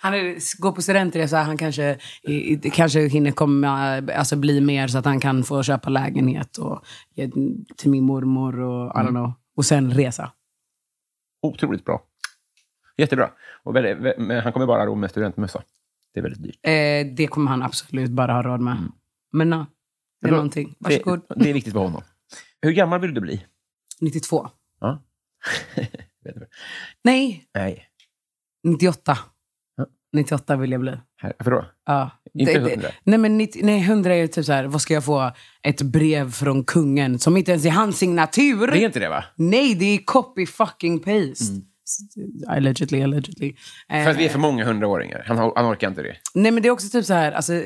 Han är, går på studentresa, han kanske, i, i- kanske hinner komma, alltså bli mer så att han kan få köpa lägenhet och ge den till min mormor och I don't know. Och sen resa.
Otroligt bra. Jättebra. Och väldigt, vä- men han kommer bara ha råd med studentmössa. Det är väldigt dyrt.
Eh, det kommer han absolut bara ha råd med.
Mm.
Men ja, det är
Då-
någonting. Varsågod.
Det, det är viktigt för honom. Hur gammal vill du bli?
92.
Ja. Vet du.
Nej,
Nej.
98.
Ja.
98 vill jag bli.
Här- Varför då?
Ja.
Inte
Det- det-
100.
Nej, men 90, nej, 100 är ju typ så här, vad ska jag få? Ett brev från kungen som inte ens är hans signatur.
Det är inte det, va?
Nej, det är copy fucking paste. Allegedly, allegedly. Eh,
För att vi är för många hundraåringar. Han, har- han orkar inte det.
Nej, men det är också typ så här, alltså,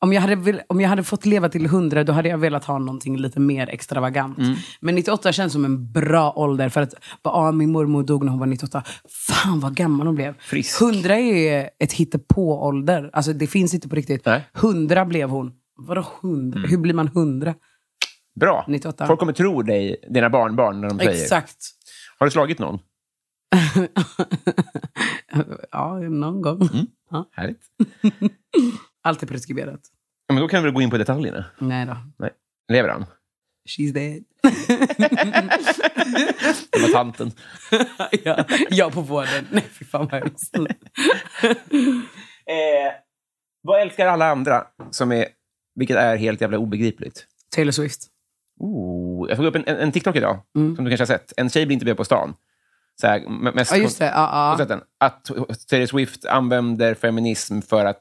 om, jag hade vel, om jag hade fått leva till 100, då hade jag velat ha någonting lite mer extravagant.
Mm.
Men 98 känns som en bra ålder. För att, bara, ah, min mormor dog när hon var 98. Fan vad gammal hon blev.
Frisk.
100 är ett hittepå-ålder. Alltså, det finns inte på riktigt.
Nej. Mm.
100 blev hon. Vadå 100? Hur blir man 100?
Bra.
98.
Folk kommer tro dig, dina barnbarn, när de säger.
Exakt.
Har du slagit någon?
ja, någon gång.
Mm. Härligt.
Allt är preskriberat.
Ja, Men då kan vi väl gå in på detaljerna.
Nej då.
Nej. Lever han?
She's dead.
Det var tanten.
ja, jag på vården. Nej, fy fan vad hemskt.
Eh, vad älskar alla andra? Som är, vilket är helt jävla obegripligt.
Taylor Swift.
Oh, jag såg upp en, en, en TikTok idag,
Mm.
som du kanske har sett. En tjej blir intervjuad på stan. Så här, m- mest
Ja, just det. Ja,
Har du
ja.
sett den? Att Taylor Swift använder feminism för att...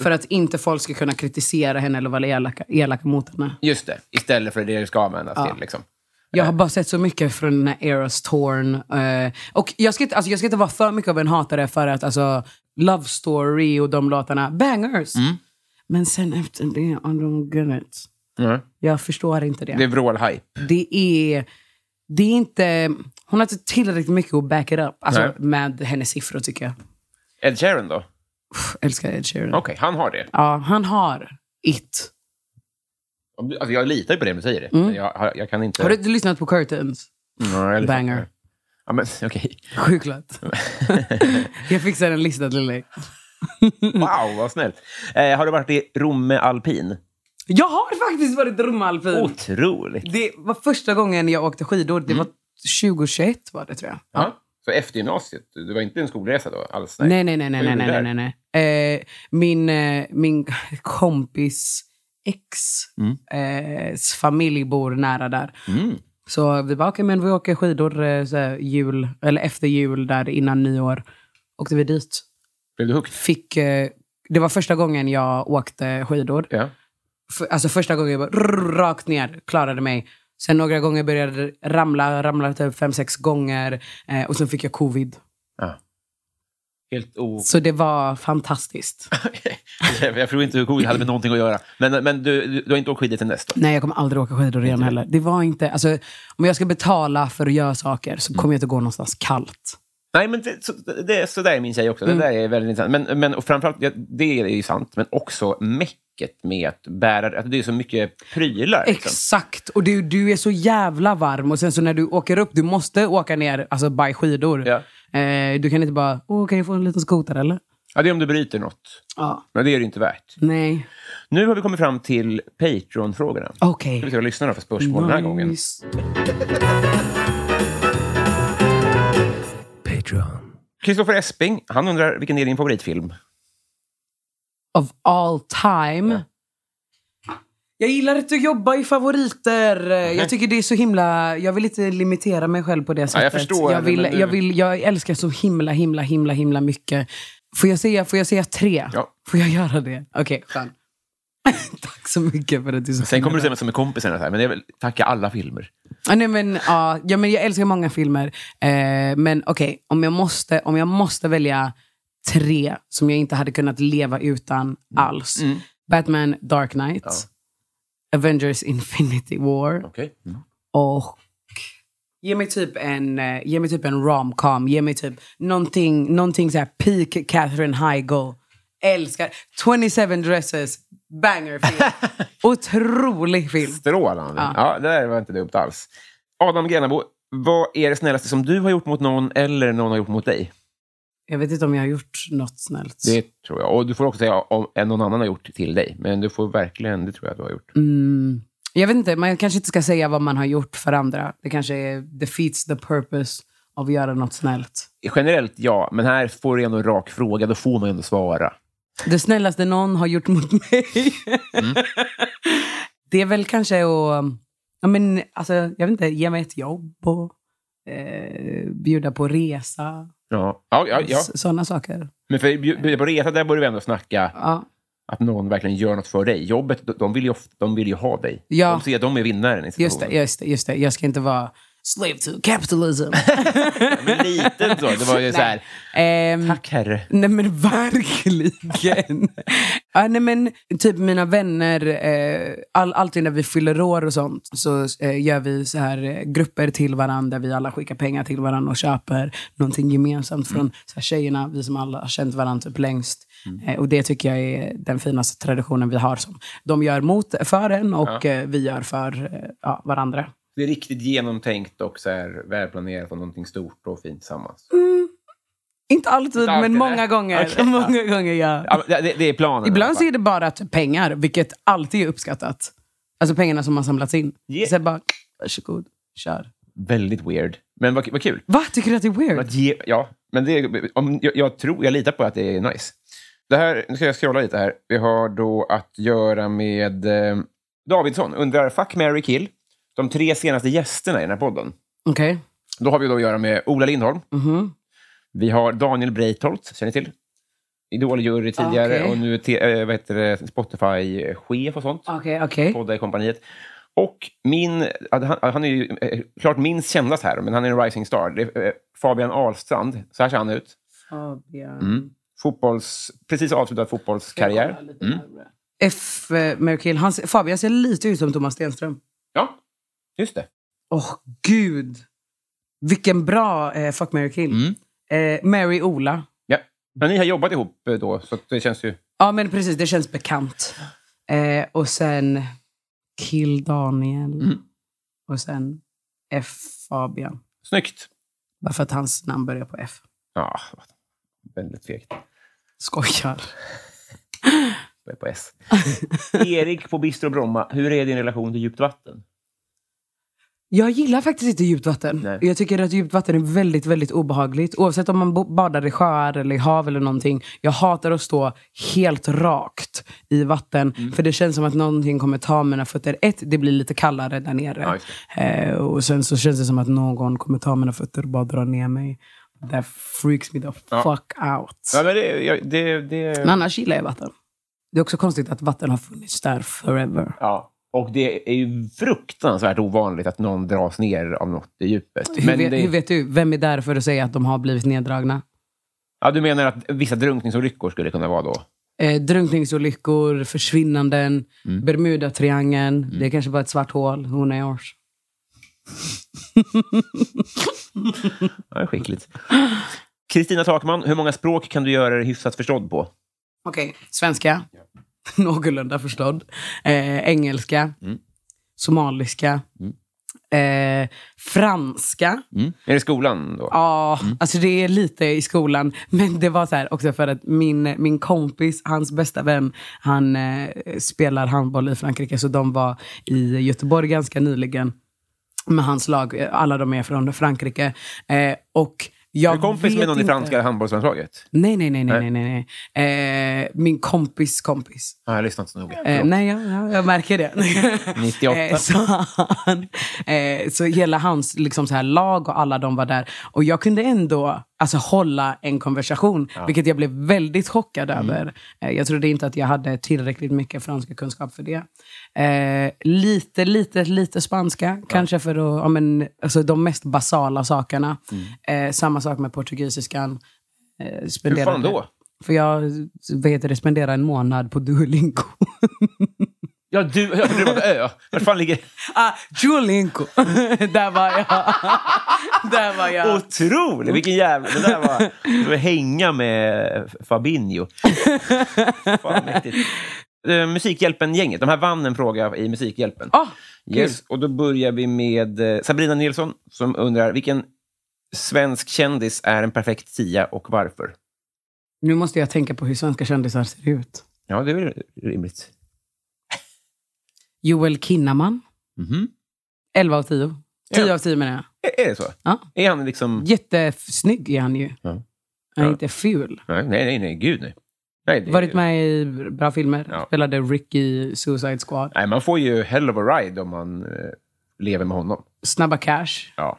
För att inte folk ska kunna kritisera henne eller vara elaka, elaka mot henne.
Just det, istället för det det ska användas till. Liksom.
Jag har bara sett så mycket från den här Eros Torn. Eh, och jag ska, inte, alltså, jag ska inte vara för mycket av en hatare för att alltså, Love Story och de låtarna, bangers. Men sen efter det, I don't get it.
Mm.
Jag förstår inte det.
Det är vrålhype.
det är, det är inte... Hon har inte tillräckligt mycket att back it up alltså,
Nej.
med hennes siffror, tycker jag.
Ed Sheeran då?
Mm.
Okej,
Pff, älskar Ed Sheeran.
han har det.
Ja, han har it.
Alltså, jag litar ju på det du säger. Det. Men jag, har- jag kan inte...
Mm. Har du inte lyssnat på Curtains?
Mm, jag litar på
Banger.
det. Ja, men, okej.
Sjukt lätt. jag fixar en lista till dig.
Wow, vad snällt. Eh, har du varit i Romme Alpin?
Mm. Jag har faktiskt varit romalpin.
Otroligt.
Det var första gången jag åkte skidor. Det var
Mm.
2021 var det tror jag.
Ja. Så efter gymnasiet? Det var inte en skolresa då? Alls, nej.
Nej, nej, nej, nej,
Vad
nej,
gjorde du
nej,
där?
nej, nej. Eh, min, eh, min kompis ex
Mm.
eh, s familj bor nära där. Så vi bara, okej, men vi åker skidor eh, så här, jul, eller efter jul där innan nyår. Åkte vi dit.
Blev du hooked?
Fick, eh, det var första gången jag åkte skidor.
Ja.
För, alltså första gången jag bara rrr, rakt ner, klarade mig. Sen några gånger började jag ramla, ramlade typ fem, sex gånger. Eh, och sen fick jag covid.
ja. Helt o...
Så det var fantastiskt.
jag tror inte hur covid hade med någonting att göra. Men, men du, du, du har inte åkt skidor till näst då?
Nej, jag kommer aldrig åka skidor igen heller. Det var inte, alltså, om jag ska betala för att göra saker så kommer jag inte gå någonstans kallt.
Nej, men det, så, det, så där är min tjej också. Det där är väldigt intressant. Men, men och framförallt, ja, det är ju sant, men också mäcket med att bära... Att det är så mycket prylar. Liksom.
Exakt! Och du, du är så jävla varm. Och sen så när du åker upp, du måste åka ner alltså by skidor.
Ja.
Eh, du kan inte bara, åh, kan jag få en liten skoter eller?
Ja, det är om du bryter något.
Ja.
Men det är det ju inte värt.
Nej.
Nu har vi kommit fram till Patreon-frågorna.
Okej.
Ska vi se vad lyssnarna får spörsmål den här gången.
Nice.
Patreon.
Kristoffer Esping, han undrar vilken är din favoritfilm?
of all time. Jag gillar inte att jobba i favoriter. Jag tycker det är så himla... Jag vill inte limitera mig själv på det sättet.
förstår
jag,
det,
vill,
men nu-
jag, vill, jag älskar så himla, himla, himla, himla mycket. Får jag säga, får jag säga tre?
Ja.
Får jag göra det? Okej, fan. Tack så mycket för att du är så
Sen kommer du
generös.
se vem som är kompisarna, så här, men det är väl tacka alla filmer.
Ja, nej, men, ja, ja, men jag älskar många filmer. Eh, men okej, om, jag måste, om jag måste välja tre som jag inte hade kunnat leva utan alls. Batman Dark Knight, Avengers Infinity War.
Okej.
Och ge mig typ en, eh, ge mig typ en romcom. Ge mig typ någonting, någonting så här peak Catherine Heigl. Älskar. 27 dresses. Bangerfilm. Otrolig film.
Strålande. Ja. det där var inte dumt alls. Adam Grenabo, vad är det snällaste som du har gjort mot någon eller någon har gjort mot dig?
Jag vet inte om jag har gjort något snällt.
Det tror jag. Och du får också säga om en någon annan har gjort till dig. Men du får verkligen, det tror jag att du har gjort.
Mm. Jag vet inte, man kanske inte ska säga vad man har gjort för andra. Det kanske är defeats the purpose av att göra något snällt.
Generellt ja, men här får du ändå en rak fråga. Då får man ju ändå svara.
Det snällaste någon har gjort mot mig.
Mm.
det är väl kanske att... Ja, men, alltså, jag vet inte, ge mig ett jobb och eh, bjuda på resa.
Ja, ja, ja. ja.
Sådana saker.
Men för bjud- bjuda på resa, där borde vi ändå snacka
Ja.
att någon verkligen gör något för dig. Jobbet, de- de vill ju, ofta, de vill ju ha dig.
Ja.
De ser att de är vinnaren i
Just,
situationen.
det, just, det, just det, jag ska inte vara slave to capitalism.
Men lite så. Det var ju så här,
Ehm,
tack herre.
Nej men verkligen. ja, nej, men, typ mina vänner, eh, all, alltid när vi fyller år och sånt så eh, gör vi så här eh, grupper till varandra där vi alla skickar pengar till varandra och köper någonting gemensamt från
Mm.
så här, tjejerna, vi som alla har känt varandra typ längst. Eh, och det tycker jag är den finaste traditionen vi har. Som de gör mot, för en och eh, vi gör för eh, ja, varandra.
Det är riktigt genomtänkt och så här, välplanerat och någonting stort och fint tillsammans.
Inte alltid,
Inte alltid,
men många
nej.
gånger.
Okej, ja.
många gånger ja.
Ja, men det, det är planen.
Ibland så är det bara typ pengar, vilket alltid är uppskattat. Alltså pengarna som har samlats in.
Yeah.
Sen bara, varsågod, kör.
Väldigt weird. Men vad, vad kul.
Va? Tycker du att det är weird?
Att ge, ja, men det, om, jag, jag tror, jag litar på att det är nice. Det här, nu ska jag scrolla lite här. Vi har då att göra med eh, Davidsson. Undrar, fuck, Mary kill. De tre senaste gästerna i den här podden.
Okej.
Då har vi då att göra med Ola Lindholm.
Mhm.
Vi har Daniel Breitholt, känner ni till? Idoljury tidigare
Ah, Okej.
och nu är te- eh, vad heter det, Spotify-chef och sånt.
Okej, okej.
Podda i kompaniet. Och min, att han, han är ju eh, klart minst kändast här, men han är en rising star. Det är eh, Fabian Ahlstrand. Så här ser han ut.
Fabian.
Fotbolls, precis avslutad fotbollskarriär.
F. eh, Merkel. Han, ser- Fabian ser lite ut som Thomas Stenström.
Ja, just det.
Åh, gud. Vilken bra eh, Fuck, Mary kill. Eh, Mary Ola.
Ja. Men ni har jobbat ihop eh, då, så att det känns ju...
Ja, men precis. Det känns bekant. Eh, och sen Kill Daniel. Och sen F. Fabian.
Snyggt.
Bara för att hans namn börjar på F.
Ja, väldigt fegt.
Skojar.
Jag är på S. Erik på Bistro Bromma, hur är din relation till djupt vatten?
Jag gillar faktiskt inte djupt vatten.
Nej.
Jag tycker att djupt vatten är väldigt, väldigt obehagligt. Oavsett om man bo- badar i sjöar eller i hav eller någonting. Jag hatar att stå helt rakt i vatten.
Mm.
För det känns som att någonting kommer ta mina fötter. Ett, det blir lite kallare där nere.
just
eh, och sen så känns det som att någon kommer ta mina fötter och bara dra ner mig. That freaks me the fuck out.
Ja, men det, jag- det, det,
Men annars gillar jag vatten. Det är också konstigt att vatten har funnits där forever.
ja. Och det är ju fruktansvärt ovanligt att någon dras ner av något i djupet.
Hur, vet,
det,
hur vet du? Vem är där för att säga att de har blivit neddragna?
ja, du menar att vissa drunkningsolyckor skulle kunna vara då?
Eh, drunkningsolyckor, försvinnanden, Bermudatriangeln. Det är kanske bara ett svart hål. Who knows?
Ja, det är skickligt. Kristina Takman, hur många språk kan du göra dig hyfsat förstådd på?
Okej, svenska. Någorlunda förstådd. Eh, engelska. Somaliska. Eh, franska.
Är det skolan då?
Ja,
Mm.
alltså det är lite i skolan. Men det var så här också för att min, min kompis, hans bästa vän, han eh, spelar handboll i Frankrike. Så de var i Göteborg ganska nyligen med hans lag. Eh, Alla de är från Frankrike. Eh, och jag
Är du kompis
vet
med någon i
inte-
franska handbollslandslaget?
Nej, nej, nej. nej, nej, nej. nej. Eh, min kompis kompis.
Ja, jag lyssnar inte så noga.
Eh, nej, jag, jag, jag märker det.
98.
Eh, så, han, eh, så hela hans liksom så här, lag och alla de var där. Och jag kunde ändå alltså, hålla en konversation, vilket jag blev väldigt chockad över. Eh, jag trodde inte att jag hade tillräckligt mycket franska kunskap för det. Eh, lite, lite, lite spanska. Kanske för att, ja, men, alltså, de mest basala sakerna. Eh, samma sak med portugisiskan. Eh,
Hur
spenderade-
fan då?
för jag vad heter det, spenderade en månad på Duolingo.
Ja, du. Jag trodde det var en ö. Var fan ligger...
Ah, Julinko. där var jag. där var jag.
Otroligt! Vilken jävla... Det där var... Det var hänga med Fabinho. fan mäktigt. Eh, Musikhjälpen-gänget. De här vann en fråga i Musikhjälpen.
Ah,
Yes, och då börjar vi med eh, Sabrina Nilsson som undrar vilken svensk kändis är en perfekt tia och varför?
Nu måste jag tänka på hur svenska kändisar ser ut.
Ja, det är väl rimligt.
Joel Kinnaman.
Mhm.
11 av 10. 10 av 10 menar jag.
Är, är det så?
Ja.
Är han liksom...
Jättesnygg är han ju.
Ja.
Han är
Ja.
inte ful.
Nej, nej, nej, nej gud nej. nej det,
Varit med i bra filmer.
Ja.
Spelade Ricky Suicide Squad.
Nej, man får ju hell of a ride om man eh, lever med honom.
Snabba Cash.
Ja.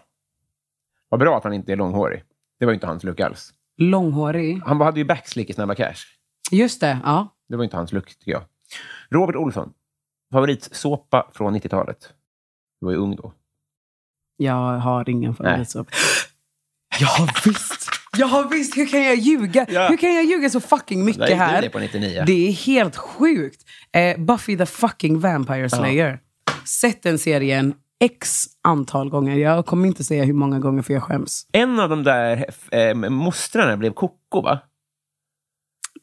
Vad bra att han inte är långhårig. Det var ju inte hans look alls.
Långhårig.
Han hade ju backslick i Snabba Cash.
Just det. Ja.
Det var ju inte hans look, tycker jag. Robert Olsson. Favoritsåpa från 90-talet. Du var ju ung då.
Jag har ingen favoritsåpa.
Jag har visst!
Ja visst, hur kan jag ljuga?
Ja.
Hur kan jag ljuga så fucking mycket
Där gick du
här?
det på 99.
Det är helt sjukt. Eh, Buffy the fucking Vampire Slayer. Sett den serien x antal gånger. Jag kommer inte säga hur många gånger för jag skäms.
En av de där eh, mostrarna blev koko, va?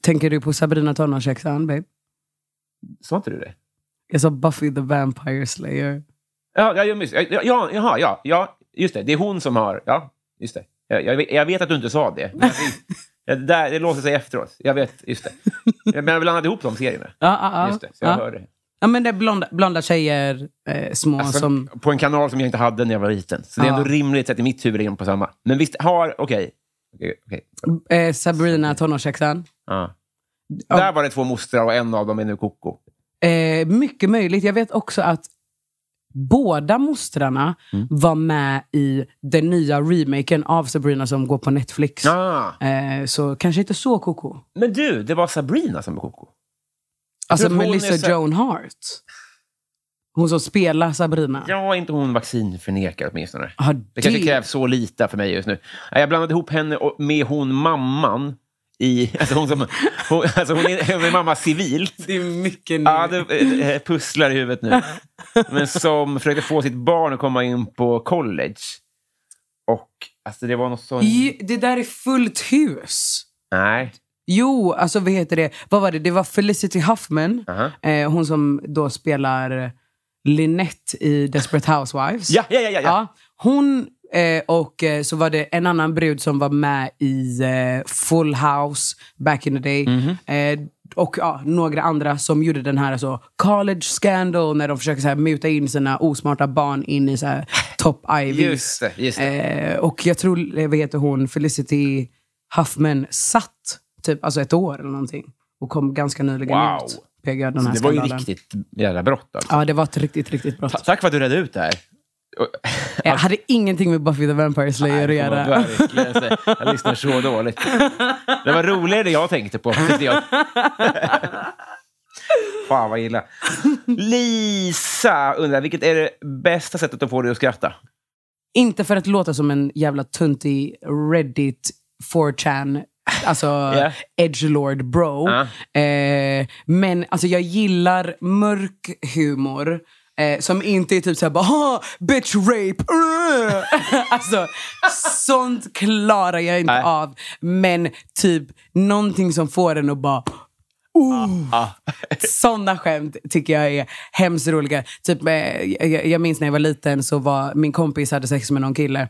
Tänker du på Sabrina tonårshäxan, babe?
Sa inte du det?
Jag sa Buffy the Vampire Slayer.
Ja, ja, just, ja, ja, jaha, ja, ja, just det. Det är hon som har... Ja, just det. Jag, jag, vet- jag vet att du inte sa det. Men det, det, där, det låser sig efteråt. Jag vet, just det. Men jag blandade ihop de serierna.
Ja, ah, ja, ja.
Just det, så jag
Ja.
hörde.
Ja, men det är blonda, blonda tjejer, eh, små
Alltså,
som...
På en kanal som jag inte hade när jag var liten. Så det är
Ja.
ändå rimligt att i mitt huvud är de på samma. Men visst har... Okej. Okej, okej.
Eh, Sabrina tonårshäxan.
Ja.
Ja.
Där var det två mostrar och en av dem är nu koko.
Eh, mycket möjligt. Jag vet också att båda mostrarna
Mm.
var med i den nya remaken av Sabrina som går på Netflix.
Ah.
Eh, så kanske inte så koko.
Men du, det var Sabrina som var koko.
Alltså
tror att hon är
Melissa
så-
Joan Hart. Hon som spelar Sabrina.
Ja, inte hon vaccinförnekar åtminstone.
Har
Det kanske
Ah, det-
krävs så lite för mig just nu. Nej, Jag blandade ihop henne och- med hon mamman. I, alltså hon som, hon, alltså hon är, hon är mamma civilt.
Det är mycket
Ja, det eh, pusslar i huvudet nu. Men som försökte få sitt barn att komma in på college. Och alltså det var något sånt...
I, det där är fullt hus.
Nej.
Jo, alltså vad heter det? Vad var det? Det var Felicity Huffman.
Aha.
Eh, hon som då spelar Lynette i Desperate Housewives.
Ja, ja, ja, ja, ja.
Ja, hon eh, och eh, så var det en annan brud som var med i eh, Full House back in the day.
Mhm.
Eh, och ja, några andra som gjorde den här alltså, college scandal när de försöker så här, muta in sina osmarta barn in i så här, top
Just
ivies.
det. Just det.
Eh, och jag tror, eh, vad heter hon, Felicity Huffman satt typ alltså ett år eller någonting. Och kom ganska nyligen
Wow.
ut. PGA, den här
det var ju
skandalen.
riktigt jävla brott. Alltså.
Ja, det var ett riktigt, riktigt
Ta-
brott.
Tack för att du redde ut det här. Och-
Jag hade ingenting med Buffy the Vampire Slayer att
Nej, det får man
göra.
verkligen säga. Jag lyssnar så dåligt. Det var roligare det jag tänkte på, tyckte jag. Fan vad illa. Lisa undrar, vilket är det bästa sättet att få dig att skratta?
Inte för att låta som en jävla tuntig Reddit 4chan, alltså
Yeah. Ah.
edgelord bro. Eh, men alltså, jag gillar mörk humor. Eh, som inte är typ såhär bara "Ah, bitch rape. uh." alltså, sånt klarar jag inte
Nej.
av. Men typ någonting som får en att bara Sådana skämt tycker jag är hemskt roliga. Typ, eh, jag, jag minns när jag var liten så var min kompis hade sex med någon kille.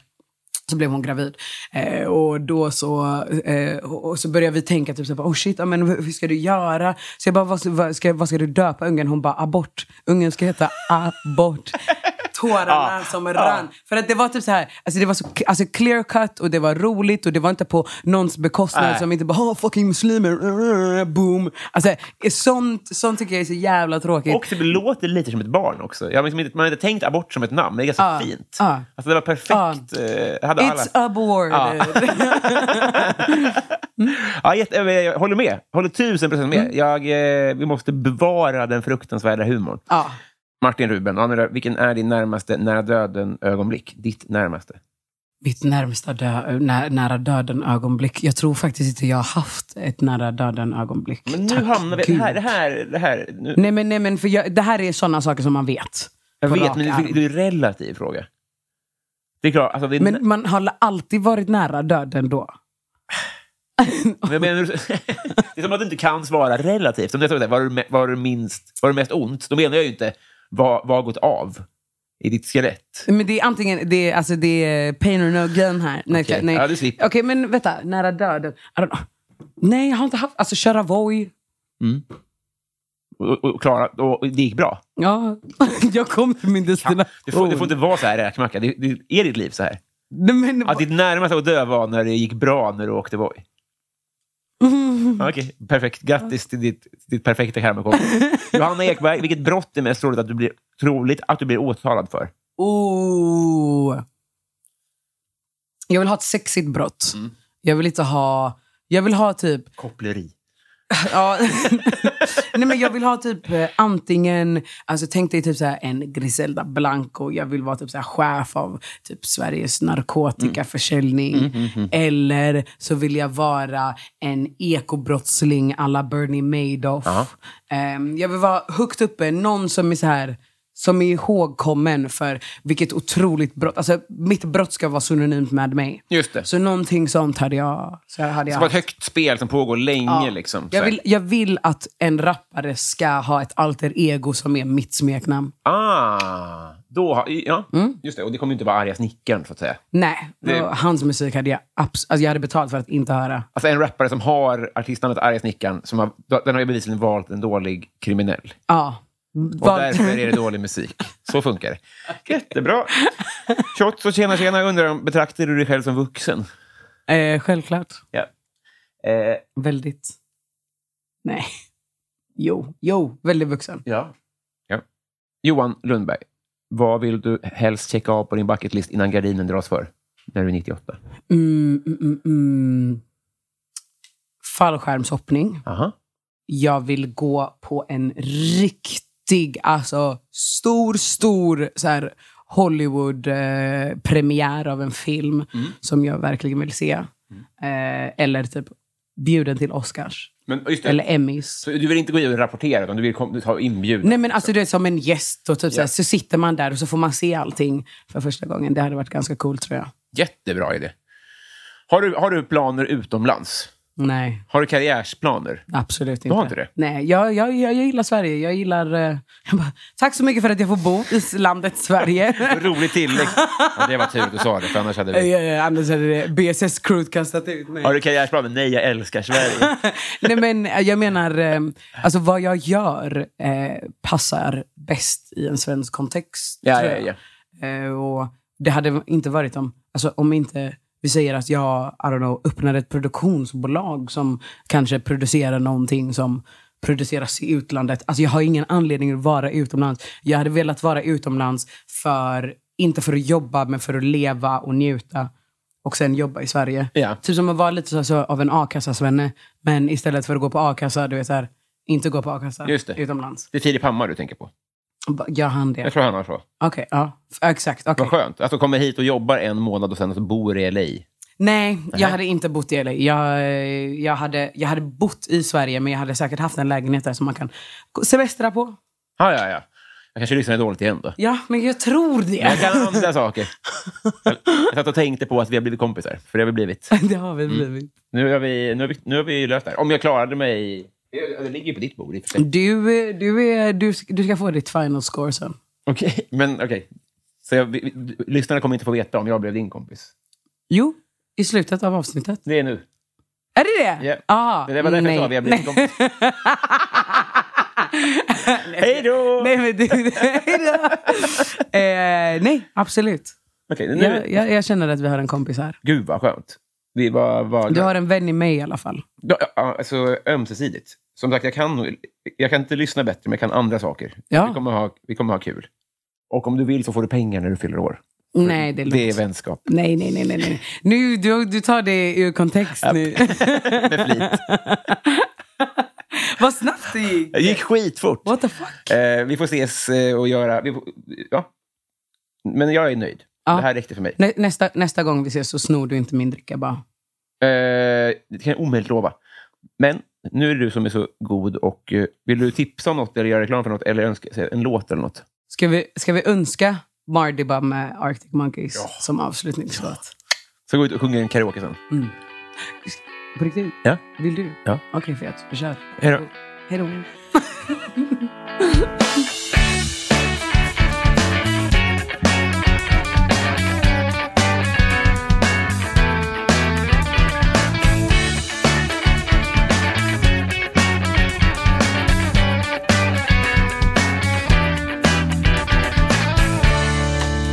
Så blev hon gravid. Eh, och då så, eh, och och så började vi tänka typ så här, bara, oh shit, ja, men hur hur ska du göra? Så jag bara, vad, vad, ska, vad ska du döpa ungen? Hon bara, abort. Ungen ska heta abort. Tårarna som rann. För att det var typ så här, alltså det var så alltså clear cut och det var roligt och det var inte på någons bekostnad som inte bara, oh, fucking muslimer, boom. Alltså sånt, sånt tycker jag är så jävla tråkigt.
Och det låter lite som ett barn också. Jag har liksom inte, man har inte tänkt abort som ett namn, men det är ganska
Ja.
fint.
Ja.
Alltså det var perfekt. Eh, Hade alla...
It's abort.
Ja, jätte, eh, jag håller med. Håller tusen procent med. Jag, eh, vi måste bevara den fruktansvärda humorn.
ja.
Martin Ruben, han undrar, vilken är din närmaste nära döden-ögonblick? Ditt närmaste?
mitt närmsta dö- nä- nära döden-ögonblick. Jag tror faktiskt inte jag har haft ett nära döden-ögonblick.
Men nu
Tack
hamnar vi...
Gud.
Det här, det här, det här. Nu,
Nej, men, nej, men för jag, det här är sådana saker som man vet.
jag
på
vet,
rak
men
arm.
det, det är en relativ fråga. Det är klart, alltså, det är,
Men man har alltid varit nära döden då.
Men jag menar, det är som att du inte kan svara relativt. Om jag säger så här, vad har du me- vad har du minst, vad har du mest ont? Då menar jag ju inte vad, vad har gått av i ditt skelett.
Men det är antingen, det är, alltså det är pain or no gain här. Nej,
Okej.
nej.
Ja, du slipper.
Okej, men vänta. Nära döden. I don't know. Nej, jag har inte haft... Alltså, köra Voi.
Och, och, och, klara, och, och det gick bra.
Ja, jag kom till min destination.
Det får, det får inte vara så här räkmacka. Det, det, är ditt liv så här?
Nej, men,
Att ditt närmaste att dö var när det gick bra när du åkte Voi? Okej, perfekt. Grattis till ditt, till ditt perfekta karmakort. Johanna Ekberg, vilket brott är mest troligt att du blir, troligt att du blir åtalad för?
Oh. Jag vill ha ett sexigt brott.
Mm.
Jag vill inte ha... Jag vill ha typ...
Koppleri.
Ja. Nej, men jag vill ha typ eh, antingen, alltså tänk dig typ så här en Griselda Blanco. Jag vill vara typ så här chef av typ Sveriges narkotikaförsäljning. Eller så vill jag vara en ekobrottsling à la Bernie Madoff. Ehm, jag vill vara högt uppe, någon som är så här som är ihågkommen för vilket otroligt brott. Alltså, mitt brott ska vara synonymt med mig.
Just det.
Så någonting sånt hade jag... Så hade jag
Det var ett
haft.
högt spel som pågår länge. Liksom, så
Jag
här.
vill, jag vill att en rappare ska ha ett alter ego som är mitt smeknamn.
Ah, då har, ja,
Mm.
just det. Och det kommer ju inte vara arga snickaren, så att säga.
Nej,
Det-
och hans musik hade jag, abs- alltså jag hade betalt för att inte höra.
Alltså en rappare som har artistnamnet Arga Snickaren, som har, den har ju bevisligen valt en dålig kriminell.
Ja.
Och därför är det dålig musik. Så funkar det. Jättebra. Shots och tjena tjena, jag undrar om betraktar du dig själv som vuxen?
eh, självklart.
Ja. Eh,
Väldigt. Nej. Jo, jo, väldigt vuxen.
ja. ja. Johan Lundberg, vad vill du helst checka av på din bucketlist innan gardinen dras för? När du är 98?
Mm, mm, mm, mm. Fallskärmshoppning.
Aha.
jag vill gå på en riktig, alltså stor, stor så här, Hollywood-premiär eh, premiär av en film
Mm.
som jag verkligen vill se. Eh, eller typ bjuden till Oscars.
Men just
Eller Emmys.
Så du vill inte gå in och rapportera, utan du vill kom, du tar inbjudan?
Nej men alltså det är som en gäst och typ så, här, så sitter man där och så får man se allting för första gången. Det hade varit ganska coolt tror jag.
Jättebra idé. Har du, har du planer utomlands?
Nej,
Har du karriärsplaner?
absolut inte.
har inte det?
Nej, jag, jag, jag, jag gillar Sverige. Jag gillar... Eh, jag bara, tack så mycket för att jag får bo i landet Sverige.
Rolig tillägg. Ja, det var tur att du sa det, för annars hade
Ja,
vi...
ja, ja, annars hade det BSS-crewet kastat ut mig.
Har du karriärsplaner? Nej, jag älskar Sverige.
Nej, men eh, jag menar, eh, alltså vad jag gör eh, passar bäst i en svensk kontext.
Ja,
tror
ja,
jag. Eh, och det hade inte varit om, alltså, om inte vi säger att jag I don't know, öppnar ett produktionsbolag som kanske producerar någonting som produceras i utlandet. Alltså jag har ingen anledning att vara utomlands. Jag hade velat vara utomlands för, inte för att jobba, men för att leva och njuta och sen jobba i Sverige.
Ja.
Typ som att vara lite så, så, av en a-kassasvenne, men istället för att gå på a-kassa, du vet så här, inte gå på a-kassa
Just det.
utomlands.
Det är Filip Hammar du tänker på.
Ba- Gör han det?
Jag
Okej,
tror han har så.
ja. F- Exakt. okej.
Vad skönt. Alltså kommer hit och jobbar en månad och sen så bor i LA.
Nej, jag hade inte bott i LA. Jag, eh, jag, hade, jag hade bott i Sverige, men jag hade säkert haft en lägenhet där som man kan gå- semestra på.
Ah, ja, ja. Jag kanske lyssnade dåligt igen då.
Ja, men jag tror
Men jag
det.
kan andra saker. Jag, jag satt och tänkte på att vi har blivit kompisar, för det har vi blivit.
det har
Mm.
vi blivit.
Nu har vi, nu har vi, nu har vi löst det här. Om jag klarade mig... Det ligger ju på ditt bord i och för sig.
Du, eh, du, är, du, sk- du ska få ditt final score sen.
Okej, men okej. Så jag, vi, vi- lyssnarna kommer inte få veta om jag blev din kompis.
Jo, i slutet av avsnittet.
Det är nu.
Är det det?
Ja.
Ah,
Det där var därför jag sa att vi har blivit
nej.
kompis. Hej då!
Nej,
Okej,
men du, eh, nej, absolut.
nu.
Jag, jag, jag känner att vi har en kompis här.
Gud vad skönt. Vi var, var,
Du har en vän i mig i alla fall.
Ja, ja, alltså ömsesidigt. Som sagt, jag kan, jag kan inte lyssna bättre, men jag kan andra saker.
Ja.
Vi, kommer ha, vi kommer ha kul. Och om du vill så får du pengar när du fyller år.
Nej, det är lugnt.
Mm. Det är vänskap.
Nej, nej, nej, nej. nej. Nu, du, du tar det ur kontext nu.
Med flit.
Vad snabbt det gick.
Det gick skitfort.
What the fuck?
Eh, vi får ses eh, och göra... Vi får, ja. Men jag är nöjd.
Ja.
Det här räckte för mig.
Nä, nästa, nästa gång vi ses så snor du inte min dricka bara.
Eh, det kan jag omöjligt lova. Men nu är det du som är så god. och eh, Vill du tipsa om något eller göra reklam för något eller önska säga en låt eller något?
Ska vi, ska vi önska Mardi Bum med Arctic Monkeys som avslutningslåt?
Så gå ut och sjung en karaoke sen.
På riktigt?
Ja.
Vill du?
Ja.
Okej, fet. Vi kör.
Hej då.
Hej då.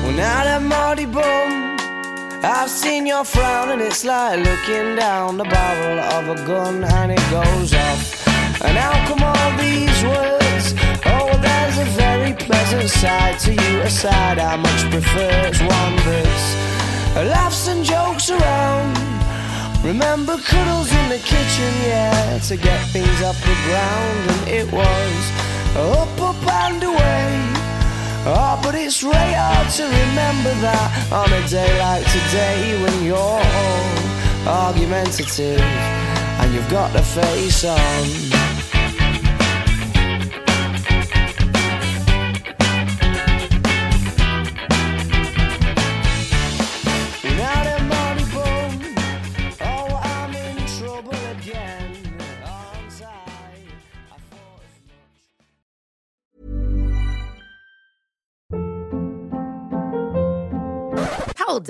When out at Marty Bum, I've seen your frown, and it's like looking down the barrel of a gun, and it goes off. And how come all these words? Oh, there's a very pleasant side to you, a side I much prefer. It's one that's laughs and jokes around. Remember cuddles in the kitchen, yeah, to get things off the ground, and it was up, up and away. Oh, but it's really hard to remember that on a day like today when you're all argumentative and you've got the face on. Without a money bum, oh, I'm in trouble again. Aren't I? I thought as much.
Hold